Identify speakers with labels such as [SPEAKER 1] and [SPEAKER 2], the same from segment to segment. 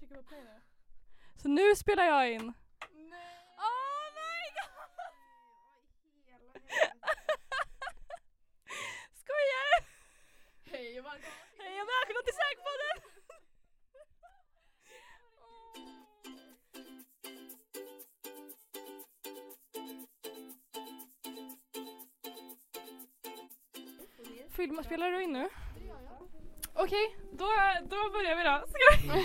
[SPEAKER 1] trycka på play nu.
[SPEAKER 2] Så nu spelar jag in.
[SPEAKER 1] Nej!
[SPEAKER 2] Oh my god! Skojar du?
[SPEAKER 1] Hej och välkomna!
[SPEAKER 2] Hej och välkomna till Säkpodden! Filma, spelar du in nu?
[SPEAKER 1] Det gör jag.
[SPEAKER 2] Okej, då, då börjar vi då. Ska vi?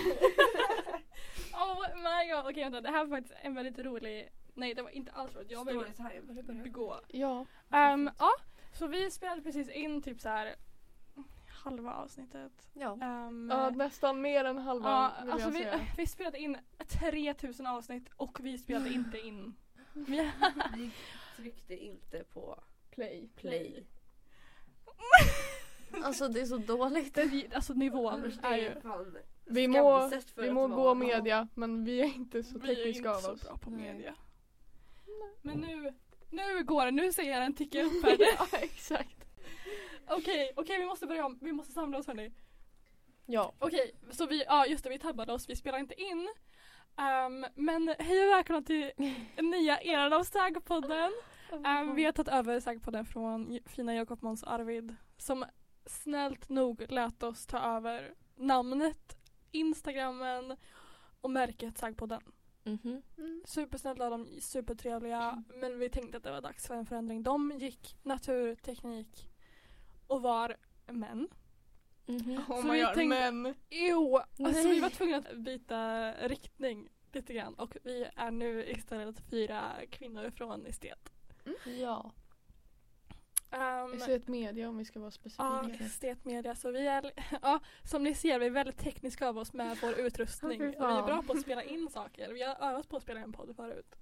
[SPEAKER 2] oh my god, okej vänta det här var faktiskt en väldigt rolig, nej det var inte alls roligt, jag ville begå.
[SPEAKER 1] Ja.
[SPEAKER 2] Ehm, ja, så vi spelade precis in typ så här halva avsnittet.
[SPEAKER 3] Ja.
[SPEAKER 2] Ehm,
[SPEAKER 1] Ja, nästan mer än halva
[SPEAKER 2] ja,
[SPEAKER 1] vill
[SPEAKER 2] alltså
[SPEAKER 1] jag
[SPEAKER 2] vi,
[SPEAKER 1] säga.
[SPEAKER 2] vi spelade in 3000 avsnitt och vi spelade inte in. Vi-
[SPEAKER 3] Vi tryckte inte på
[SPEAKER 1] Play.
[SPEAKER 3] play. Alltså det är så dåligt.
[SPEAKER 2] Den, alltså nivån
[SPEAKER 3] Annars det
[SPEAKER 2] är
[SPEAKER 3] är
[SPEAKER 2] ju
[SPEAKER 3] ju fan
[SPEAKER 1] Vi må,
[SPEAKER 3] skamset för
[SPEAKER 1] vi
[SPEAKER 3] att
[SPEAKER 1] må
[SPEAKER 3] vara-
[SPEAKER 1] gå media men vi är inte så
[SPEAKER 2] vi är
[SPEAKER 1] tekniska
[SPEAKER 2] inte
[SPEAKER 1] av
[SPEAKER 2] så
[SPEAKER 1] oss.
[SPEAKER 2] bra på
[SPEAKER 3] Nej.
[SPEAKER 2] media. Men nu, nu går det, nu ser jag den ticka upp här. Okej,
[SPEAKER 1] ja, exakt.
[SPEAKER 2] okej vi måste börja om, vi måste samla oss hörni.
[SPEAKER 1] Ja.
[SPEAKER 2] Okej, så vi, ja just det vi tabbade oss, vi spelar inte in. Ehm, men hej och välkomna till nya eran av Sägpodden. Ehm, vi har tagit över Sägpodden från J- fina Jakob, Måns och Arvid som snällt nog lät oss ta över namnet, instagrammen och märket Sägpodden.
[SPEAKER 3] Mhm.
[SPEAKER 1] Mm.
[SPEAKER 2] Supersnälla de, är supertrevliga men vi tänkte att det var dags för en förändring. De gick natur, teknik och var män.
[SPEAKER 3] Mhm.
[SPEAKER 1] Oh
[SPEAKER 2] Så
[SPEAKER 1] my
[SPEAKER 2] vi
[SPEAKER 1] god,
[SPEAKER 2] tänkte-
[SPEAKER 1] men
[SPEAKER 2] Jo, alltså
[SPEAKER 3] Nej.
[SPEAKER 2] vi var tvungna att byta riktning lite grann och vi är nu istället fyra kvinnor från estet.
[SPEAKER 1] Mm. ja.
[SPEAKER 2] Um,
[SPEAKER 1] Så ett media om vi ska vara specifika.
[SPEAKER 2] ja, estetmedia. Så vi är, ja, som ni ser, vi är väldigt tekniska av oss med vår utrustning.
[SPEAKER 1] Åh, fy
[SPEAKER 2] och vi är
[SPEAKER 1] fan.
[SPEAKER 2] bra på att spela in saker. Vi har övat på att spela in podd förut.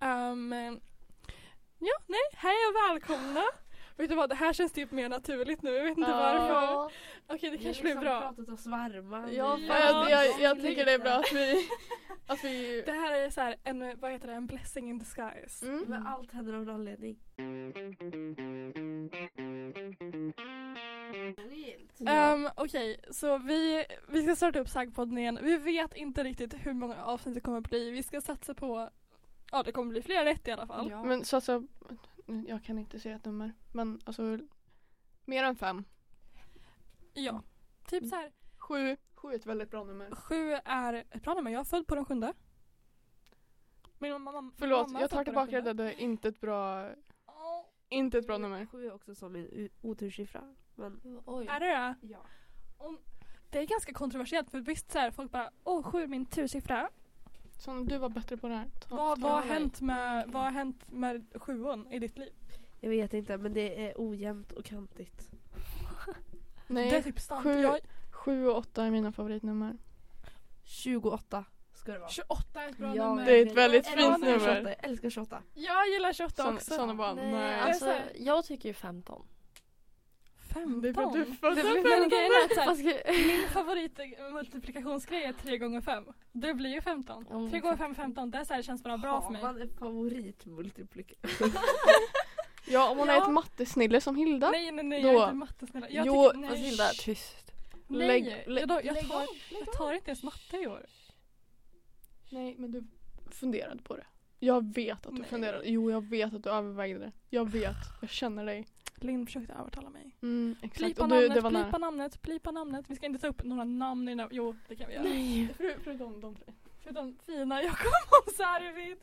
[SPEAKER 2] Ehm, ja, nej, hej och välkomna. Vet du vad, det här känns typ mer naturligt nu. Jag vet inte
[SPEAKER 1] Ja.
[SPEAKER 2] varför. Okej, det kanske blir
[SPEAKER 3] Vi har
[SPEAKER 2] bra.
[SPEAKER 3] liksom pratat Liksom oss varma.
[SPEAKER 1] Ja,
[SPEAKER 2] Ja,
[SPEAKER 1] jag, jag, jag
[SPEAKER 3] skulle
[SPEAKER 1] tycker det är
[SPEAKER 3] inte.
[SPEAKER 1] bra att vi... Att vi
[SPEAKER 2] Det här är så här en, vad heter det, en blessing in disguise.
[SPEAKER 1] mm.
[SPEAKER 3] Men allt händer av en anledning.
[SPEAKER 1] Mm, ja.
[SPEAKER 2] Ehm, Okej, så vi, vi ska starta upp Saggpodden igen. Vi vet inte riktigt hur många avsnitt det kommer bli. Vi ska satsa på, ja det kommer bli fler än ett i alla fall.
[SPEAKER 3] Ja.
[SPEAKER 1] Men så alltså, jag kan inte säga ett nummer. Men alltså, mer än fem.
[SPEAKER 2] Ja, typ så här.
[SPEAKER 1] Sju. Sju är ett väldigt bra nummer.
[SPEAKER 2] Sju är ett bra nummer, jag är född på den sjunde. Min mamma, mamma,
[SPEAKER 1] Förlåt,
[SPEAKER 2] mamma är
[SPEAKER 1] jag
[SPEAKER 2] född
[SPEAKER 1] tar
[SPEAKER 2] på den
[SPEAKER 1] tillbaka
[SPEAKER 2] sjunde.
[SPEAKER 1] det. Det är inte ett bra,
[SPEAKER 2] Åh,
[SPEAKER 1] inte ett bra nummer.
[SPEAKER 3] Sju är också som min u- oturssiffra. Men
[SPEAKER 4] Oj.
[SPEAKER 2] Är det det?
[SPEAKER 3] ja.
[SPEAKER 2] Det är ganska kontroversiellt för visst så här, folk bara åh sju är min tursiffra.
[SPEAKER 1] Så om du var bättre på det här. Ta,
[SPEAKER 2] Vad,
[SPEAKER 1] ta
[SPEAKER 2] vad, har
[SPEAKER 1] den här.
[SPEAKER 2] hänt med, vad har hänt med sjuan i ditt liv?
[SPEAKER 3] Jag vet inte men det är ojämnt och kantigt.
[SPEAKER 2] det är
[SPEAKER 1] Nej,
[SPEAKER 2] typ sant.
[SPEAKER 1] sju-
[SPEAKER 2] Jag,
[SPEAKER 1] sju och åtta är mina favoritnummer.
[SPEAKER 3] 28 ska det vara.
[SPEAKER 2] 28 är ett bra
[SPEAKER 3] Ja,
[SPEAKER 2] nummer.
[SPEAKER 1] Det är ett väldigt
[SPEAKER 2] Eller vad
[SPEAKER 1] fint
[SPEAKER 2] det är.
[SPEAKER 1] nummer.
[SPEAKER 3] Jag älskar 28.
[SPEAKER 2] Jag gillar 28
[SPEAKER 1] Sån-
[SPEAKER 2] också.
[SPEAKER 1] Såna bara,
[SPEAKER 4] Nej,
[SPEAKER 1] nej.
[SPEAKER 2] Det
[SPEAKER 4] alltså
[SPEAKER 2] är så här-
[SPEAKER 4] jag tycker ju 15.
[SPEAKER 2] 15?
[SPEAKER 1] Det är för att du är född
[SPEAKER 2] Men
[SPEAKER 1] på
[SPEAKER 2] grejen är att så här,
[SPEAKER 4] Fast gre-
[SPEAKER 2] min favoritmultiplikationsgrej är 3 gånger 5. Det blir ju 15.
[SPEAKER 4] Ja, men
[SPEAKER 2] 3 gånger 5 är 15. Det är så här, känns bara bra
[SPEAKER 3] Har
[SPEAKER 2] för mig.
[SPEAKER 3] man en favoritmultiplikation?
[SPEAKER 1] Ja, om hon är
[SPEAKER 2] Ja.
[SPEAKER 1] ett mattesnille som Hilda.
[SPEAKER 2] Nej nej nej,
[SPEAKER 1] Då.
[SPEAKER 2] jag är inte matte snälla. Jag
[SPEAKER 1] Jo,
[SPEAKER 2] tycker,
[SPEAKER 4] Fast
[SPEAKER 2] nej.
[SPEAKER 4] Hilda, tyst.
[SPEAKER 2] nej.
[SPEAKER 1] lägg-
[SPEAKER 2] jag, då, jag,
[SPEAKER 1] lägg
[SPEAKER 2] tar,
[SPEAKER 1] av,
[SPEAKER 2] jag tar inte ens matte i år.
[SPEAKER 1] Nej, men du funderade på det. Jag vet att du
[SPEAKER 2] Nej.
[SPEAKER 1] funderade. Jo, jag vet att du övervägde det. Jag vet. Jag känner dig.
[SPEAKER 2] Linn försökte övertala mig.
[SPEAKER 1] Mm, exakt.
[SPEAKER 2] Blipa
[SPEAKER 1] Och du, det
[SPEAKER 2] namnet,
[SPEAKER 1] var
[SPEAKER 2] blipa
[SPEAKER 1] nära.
[SPEAKER 2] namnet, blipa namnet. Vi ska inte ta upp några namn i den här- Jo, det kan vi göra.
[SPEAKER 4] Nej.
[SPEAKER 1] För, förutom de tre.
[SPEAKER 2] Förutom fina Jakob och Måns Arvid.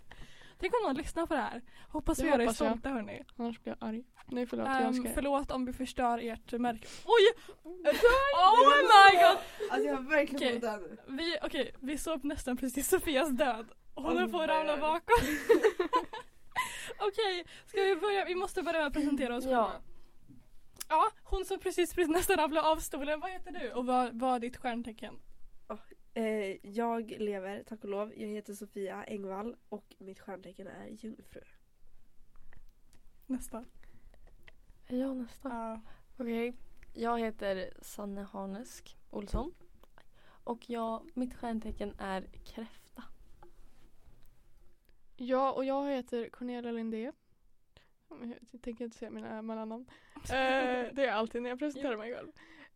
[SPEAKER 2] Tänk om någon lyssnar på det här. Hoppas
[SPEAKER 1] Det
[SPEAKER 2] vi gör dig
[SPEAKER 1] hoppas jag.
[SPEAKER 2] stolta hörni.
[SPEAKER 1] Annars blir jag arg. Nej, förlåt.
[SPEAKER 2] Ehm,
[SPEAKER 1] jag ska...
[SPEAKER 2] förlåt om vi förstör ert märke. Oj! Oh my god!
[SPEAKER 3] Alltså jag har verkligen
[SPEAKER 2] Okej.
[SPEAKER 3] fått den.
[SPEAKER 2] Vi, okej, vi såg nästan precis Sofias död. Och Håller
[SPEAKER 3] Oh
[SPEAKER 2] på att
[SPEAKER 3] my
[SPEAKER 2] ramla
[SPEAKER 3] god.
[SPEAKER 2] bakom. okej, ska vi börja? Vi måste börja med att presentera oss
[SPEAKER 4] Ja.
[SPEAKER 2] själva. Ja, hon som precis, precis nästan ramlade av stolen. Vad heter du och vad, vad är ditt stjärntecken?
[SPEAKER 3] Eh, jag lever, tack och lov. Jag heter Sofia Engvall och mitt stjärntecken är jungfru.
[SPEAKER 2] Nästan.
[SPEAKER 4] Är jag nästa?
[SPEAKER 2] Ja.
[SPEAKER 4] Okej. Jag heter Sanne Harnesk Olsson. Och jag, mitt stjärntecken är kräfta.
[SPEAKER 1] Ja, och jag heter Cornelia Lindé. Jag tänker inte säga mina mellannamn. Eh, det är alltid när jag presenterar mig själv.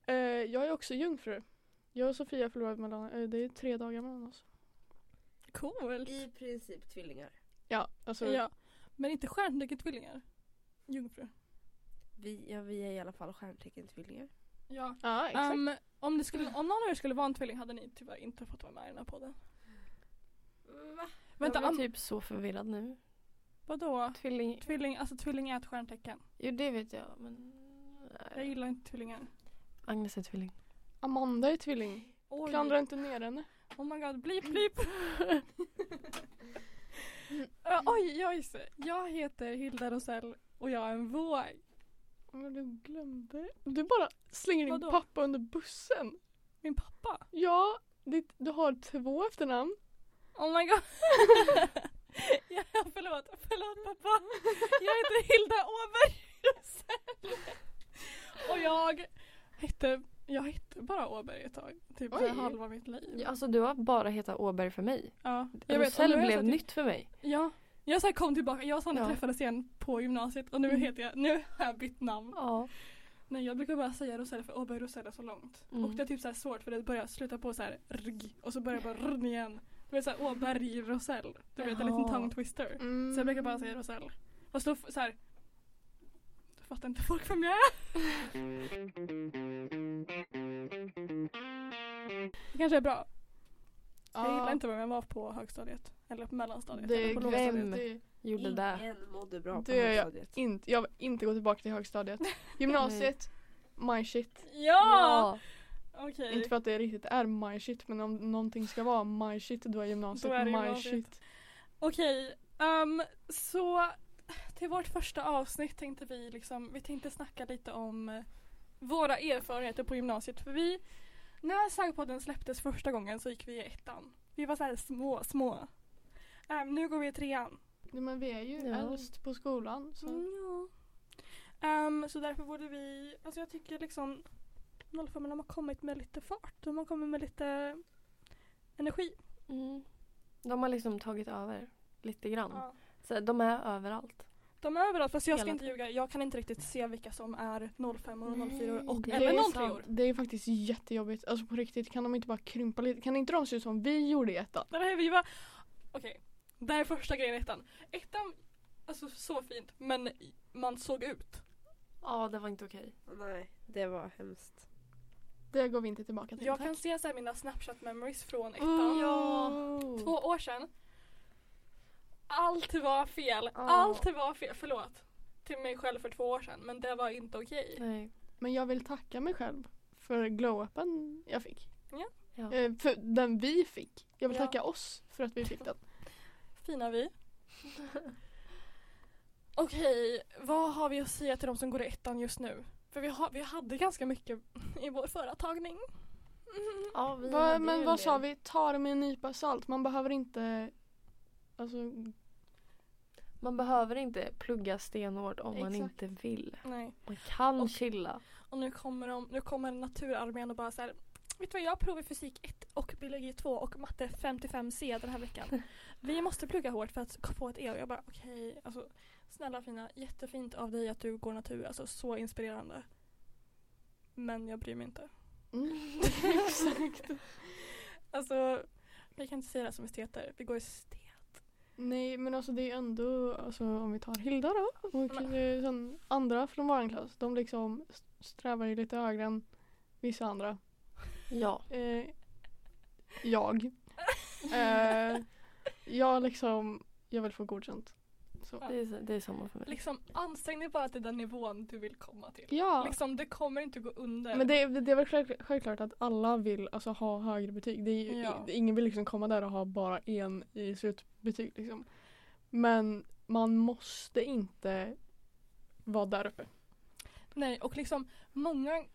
[SPEAKER 1] Eh, jag är också jungfru. Jag och Sofia förlorade mellan, eh, det är tre dagar mellan oss.
[SPEAKER 2] Coolt.
[SPEAKER 3] I princip tvillingar.
[SPEAKER 1] Ja, alltså
[SPEAKER 2] Ja. Men inte stjärnteckentvillingar. Jungfru.
[SPEAKER 3] Vi, ja, vi är i alla fall stjärnteckentvillingar.
[SPEAKER 2] Ja.
[SPEAKER 1] ja, exakt.
[SPEAKER 2] Ehm, om, det skulle, om någon av er skulle vara en tvilling hade ni tyvärr inte fått vara med i den här podden.
[SPEAKER 3] Va?
[SPEAKER 2] Vänta,
[SPEAKER 4] jag
[SPEAKER 2] am,
[SPEAKER 4] blir typ så förvirrad nu.
[SPEAKER 2] vadå?
[SPEAKER 4] Tvilling.
[SPEAKER 2] Tvilling, alltså tvilling är ett stjärntecken.
[SPEAKER 4] Jo det vet jag men.
[SPEAKER 2] Jag gillar inte tvillingar.
[SPEAKER 4] Agnes är tvilling.
[SPEAKER 1] Amanda är tvilling.
[SPEAKER 2] Oj.
[SPEAKER 1] Klandra inte ner henne.
[SPEAKER 2] Oh my god, blip blip. Ö, oj, jag är Jag heter Hilda Rosell och jag är en våg.
[SPEAKER 1] Men du glömde. Du bara slänger din
[SPEAKER 2] Vadå?
[SPEAKER 1] pappa under bussen.
[SPEAKER 2] Min pappa.
[SPEAKER 1] Ja, ditt, du har två efternamn.
[SPEAKER 2] Oh my god. ja, förlåt, förlåt pappa. Jag heter Hilda Åberg Rosell. Och jag hette, jag hette bara Åberg ett tag. Typ
[SPEAKER 1] Oj.
[SPEAKER 2] så här halva mitt liv.
[SPEAKER 4] Ja, alltså du har bara hetat Åberg för mig.
[SPEAKER 2] Ja,
[SPEAKER 4] Jag
[SPEAKER 2] och nu är jag
[SPEAKER 4] blev
[SPEAKER 2] så typ-
[SPEAKER 4] nytt för mig.
[SPEAKER 2] Ja. Jag så här kom tillbaka, jag och Sanna
[SPEAKER 4] Ja.
[SPEAKER 2] träffades igen på gymnasiet och nu
[SPEAKER 4] Mm.
[SPEAKER 2] heter jag, nu har jag bytt namn.
[SPEAKER 4] Ja.
[SPEAKER 2] Nej jag brukar bara säga Rosella för Åberg Rosella så långt.
[SPEAKER 4] Mm.
[SPEAKER 2] Och det är typ så här svårt för det börjar sluta på så här rg och så börjar jag bara rn igen. Du vet såhär Åberg Rosell. Du vet en liten
[SPEAKER 4] Jaha.
[SPEAKER 2] tongue twister.
[SPEAKER 1] Mm.
[SPEAKER 2] Så jag brukar bara säga Rosell. Fast då f- så här. Då fattar inte folk vem jag är. Det kanske är bra. Jag gillar inte vem jag var på högstadiet. Eller på mellanstadiet.
[SPEAKER 1] det.
[SPEAKER 2] eller på
[SPEAKER 1] Är
[SPEAKER 2] lågstadiet.
[SPEAKER 1] vem? Det,
[SPEAKER 4] Gjorde det.
[SPEAKER 3] Ingen mådde bra på
[SPEAKER 1] Det gör jag
[SPEAKER 3] högstadiet.
[SPEAKER 1] inte, jag vill inte gå tillbaka till högstadiet. Gymnasiet, my shit.
[SPEAKER 2] Ja! Okej.
[SPEAKER 1] Inte för att det riktigt är my shit men om någonting ska vara my shit då är gymnasiet
[SPEAKER 2] Då är det
[SPEAKER 1] my
[SPEAKER 2] gymnasiet.
[SPEAKER 1] shit.
[SPEAKER 2] Okej, ehm, så till vårt första avsnitt tänkte vi liksom, vi tänkte snacka lite om eh, våra erfarenheter på gymnasiet för vi, när Sagpodden släpptes första gången så gick vi i ettan. Vi var så här små, små. Ehm, nu går vi i trean.
[SPEAKER 1] Nej, men vi är ju
[SPEAKER 4] Ja.
[SPEAKER 1] äldst på skolan så.
[SPEAKER 2] Mm, Ja. Ehm, så därför borde vi, alltså jag tycker liksom 05 de har kommit med lite fart, de har kommit med lite energi.
[SPEAKER 4] Mm. De har liksom tagit över lite grann.
[SPEAKER 2] Ja.
[SPEAKER 4] Så de är överallt.
[SPEAKER 2] De är överallt fast jag ska
[SPEAKER 4] Hela
[SPEAKER 2] inte ljuga, jag kan inte riktigt se vilka som är 05 och
[SPEAKER 4] Nej,
[SPEAKER 2] 04 och
[SPEAKER 4] det
[SPEAKER 2] eller 03
[SPEAKER 4] är sant.
[SPEAKER 1] Det är faktiskt jättejobbigt. Alltså på riktigt kan de inte bara krympa lite? Kan inte de se ut som vi gjorde i ettan?
[SPEAKER 2] Nej vi var, okej. Det här är första grejen i ettan. Ettan, alltså så fint men man såg ut.
[SPEAKER 4] Ja, det var inte okej.
[SPEAKER 3] Nej, det var hemskt.
[SPEAKER 1] Det går vi inte tillbaka till.
[SPEAKER 2] Jag
[SPEAKER 1] tack.
[SPEAKER 2] kan se så här mina snapchat memories från ettan.
[SPEAKER 4] Mm.
[SPEAKER 1] Oh.
[SPEAKER 2] Två år sedan. Allt var fel, allt var fel, förlåt. Till mig själv för två år sedan men det var inte okej.
[SPEAKER 4] Nej.
[SPEAKER 1] Men jag vill tacka mig själv för glow-upen jag fick.
[SPEAKER 2] Ja.
[SPEAKER 4] Ja.
[SPEAKER 1] Eh, För den vi fick. Jag vill
[SPEAKER 2] Ja.
[SPEAKER 1] tacka oss för att vi fick den.
[SPEAKER 2] Fina vi. Okej, vad har vi att säga till de som går i ettan just nu? För vi, har, vi hade ganska mycket i vår förra tagning. Mm.
[SPEAKER 4] Ja, vi
[SPEAKER 1] Va,
[SPEAKER 4] hade
[SPEAKER 1] men
[SPEAKER 4] ju
[SPEAKER 1] vad
[SPEAKER 4] det.
[SPEAKER 1] sa vi? Ta det med en nypa salt. Man behöver inte Alltså,
[SPEAKER 4] Man behöver inte plugga stenhårt om man
[SPEAKER 1] Exakt.
[SPEAKER 4] inte vill.
[SPEAKER 2] Nej.
[SPEAKER 4] Man kan
[SPEAKER 2] Och-
[SPEAKER 4] chilla.
[SPEAKER 2] Och nu kommer, de, nu kommer naturarmén och bara så här. Vet du vad, jag har prov i fysik 1 och biologi 2 och matte 55C den här veckan. Vi måste plugga hårt för att få ett E och jag bara okej, alltså snälla fina, jättefint av dig att du går natur, alltså så inspirerande. Men jag bryr mig inte.
[SPEAKER 1] mm, exakt.
[SPEAKER 2] Alltså, vi kan inte säga det som esteter. Vi går estet.
[SPEAKER 1] Nej men alltså det är ändå, alltså, om vi tar Hilda då och eh, sen andra från vår klass. De liksom st- strävar ju lite högre än vissa andra.
[SPEAKER 4] Ja.
[SPEAKER 1] Eh, jag. Eh, jag liksom, jag vill få godkänt. Så.
[SPEAKER 4] Det är, det är samma för mig.
[SPEAKER 2] Liksom, ansträng dig bara till den nivån du vill komma till.
[SPEAKER 1] Ja.
[SPEAKER 2] Liksom, det kommer inte gå under.
[SPEAKER 1] Men det, det är väl självklart, självklart att alla vill alltså, ha högre betyg. Det är ju,
[SPEAKER 2] Ja.
[SPEAKER 1] i- Ingen vill liksom komma där och ha bara en i slutbetyg. Liksom. Men man måste inte vara där uppe.
[SPEAKER 2] Nej, och liksom många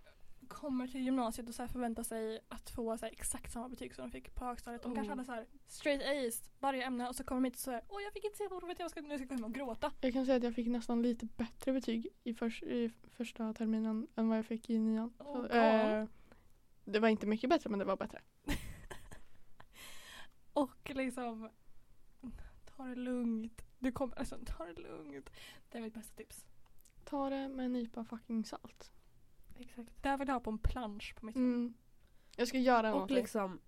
[SPEAKER 2] kommer till gymnasiet och så här förväntar sig att få så här exakt samma betyg som de fick på högstadiet. De kanske hade
[SPEAKER 4] Mm.
[SPEAKER 2] så här straight A's varje ämne och så kommer de hit och säger åh jag fick inte se på provet, jag ska, nu ska jag gå hem och gråta.
[SPEAKER 1] Jag kan säga att jag fick nästan lite bättre betyg i, förs- i första terminen än vad jag fick i nian. Så,
[SPEAKER 2] Oh,
[SPEAKER 1] eh, det var inte mycket bättre men det var bättre.
[SPEAKER 2] Och liksom ta det lugnt. Du kommer, alltså ta det lugnt. Det är mitt bästa tips.
[SPEAKER 1] Ta det med en nypa fucking salt.
[SPEAKER 4] Exakt.
[SPEAKER 2] Det här vill jag ha på en plansch på mitt rum.
[SPEAKER 1] Mm. Jag ska göra
[SPEAKER 3] Och
[SPEAKER 1] något.
[SPEAKER 3] liksom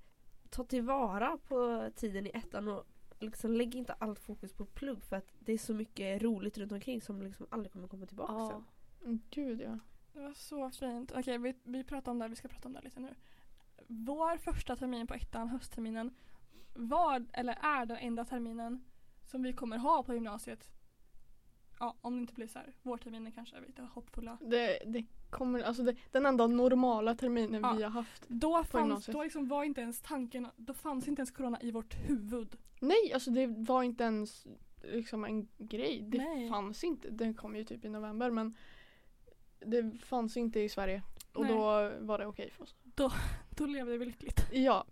[SPEAKER 3] ta tillvara på tiden i ettan och liksom lägg inte allt fokus på plugg för att det är så mycket roligt runt omkring som liksom aldrig kommer komma tillbaka sen.
[SPEAKER 1] Mm, Gud ja.
[SPEAKER 2] Det var så fint. Okej, vi, vi pratar om det, här, vi ska prata om det här lite nu. Vår första termin på ettan, höstterminen, var eller är den enda terminen som vi kommer ha på gymnasiet. Ja, om det inte blir så här. Vårterminen kanske, vi är lite hoppfulla.
[SPEAKER 1] Det, det kommer, alltså det, den enda normala terminen vi
[SPEAKER 2] Ja.
[SPEAKER 1] har haft.
[SPEAKER 2] Då, fanns,
[SPEAKER 1] gymnasiet.
[SPEAKER 2] då liksom var inte ens tanken, då fanns inte ens corona i vårt huvud.
[SPEAKER 1] Nej, alltså det var inte ens liksom en grej. Det
[SPEAKER 2] Nej.
[SPEAKER 1] fanns inte. Den kom ju typ i november men det fanns inte i Sverige. Och
[SPEAKER 2] Nej.
[SPEAKER 1] då var det okej för oss.
[SPEAKER 2] Då levde vi lyckligt.
[SPEAKER 1] Ja.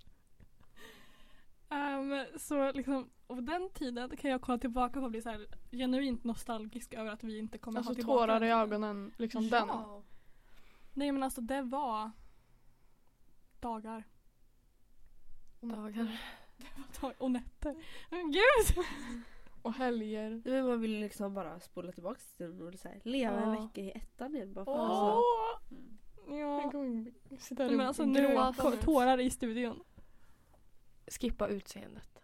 [SPEAKER 2] Ehm, så liksom, och den tiden kan jag kolla tillbaka på och bli så här genuint nostalgisk över att vi inte kommer
[SPEAKER 1] Alltså
[SPEAKER 2] ha tillbaka
[SPEAKER 1] tårar
[SPEAKER 2] den
[SPEAKER 1] i
[SPEAKER 2] tiden.
[SPEAKER 1] ögonen. Liksom
[SPEAKER 2] Ja.
[SPEAKER 1] den.
[SPEAKER 2] Nej men alltså det var dagar.
[SPEAKER 4] Dagar.
[SPEAKER 2] dag- och nätter. Men gud!
[SPEAKER 1] Och helger.
[SPEAKER 3] Men man vill liksom bara spola tillbaka tiden och så här, leva en
[SPEAKER 1] Ja.
[SPEAKER 3] vecka i ettan igen. Bara för
[SPEAKER 1] Åh.
[SPEAKER 3] alltså, mm.
[SPEAKER 1] Jag
[SPEAKER 2] Ja.
[SPEAKER 1] kommer sitta
[SPEAKER 2] Nej,
[SPEAKER 1] där
[SPEAKER 2] Men
[SPEAKER 1] och
[SPEAKER 2] alltså nu
[SPEAKER 1] gråta
[SPEAKER 2] kom
[SPEAKER 1] nu.
[SPEAKER 2] tårar i studion.
[SPEAKER 4] Skippa utseendet.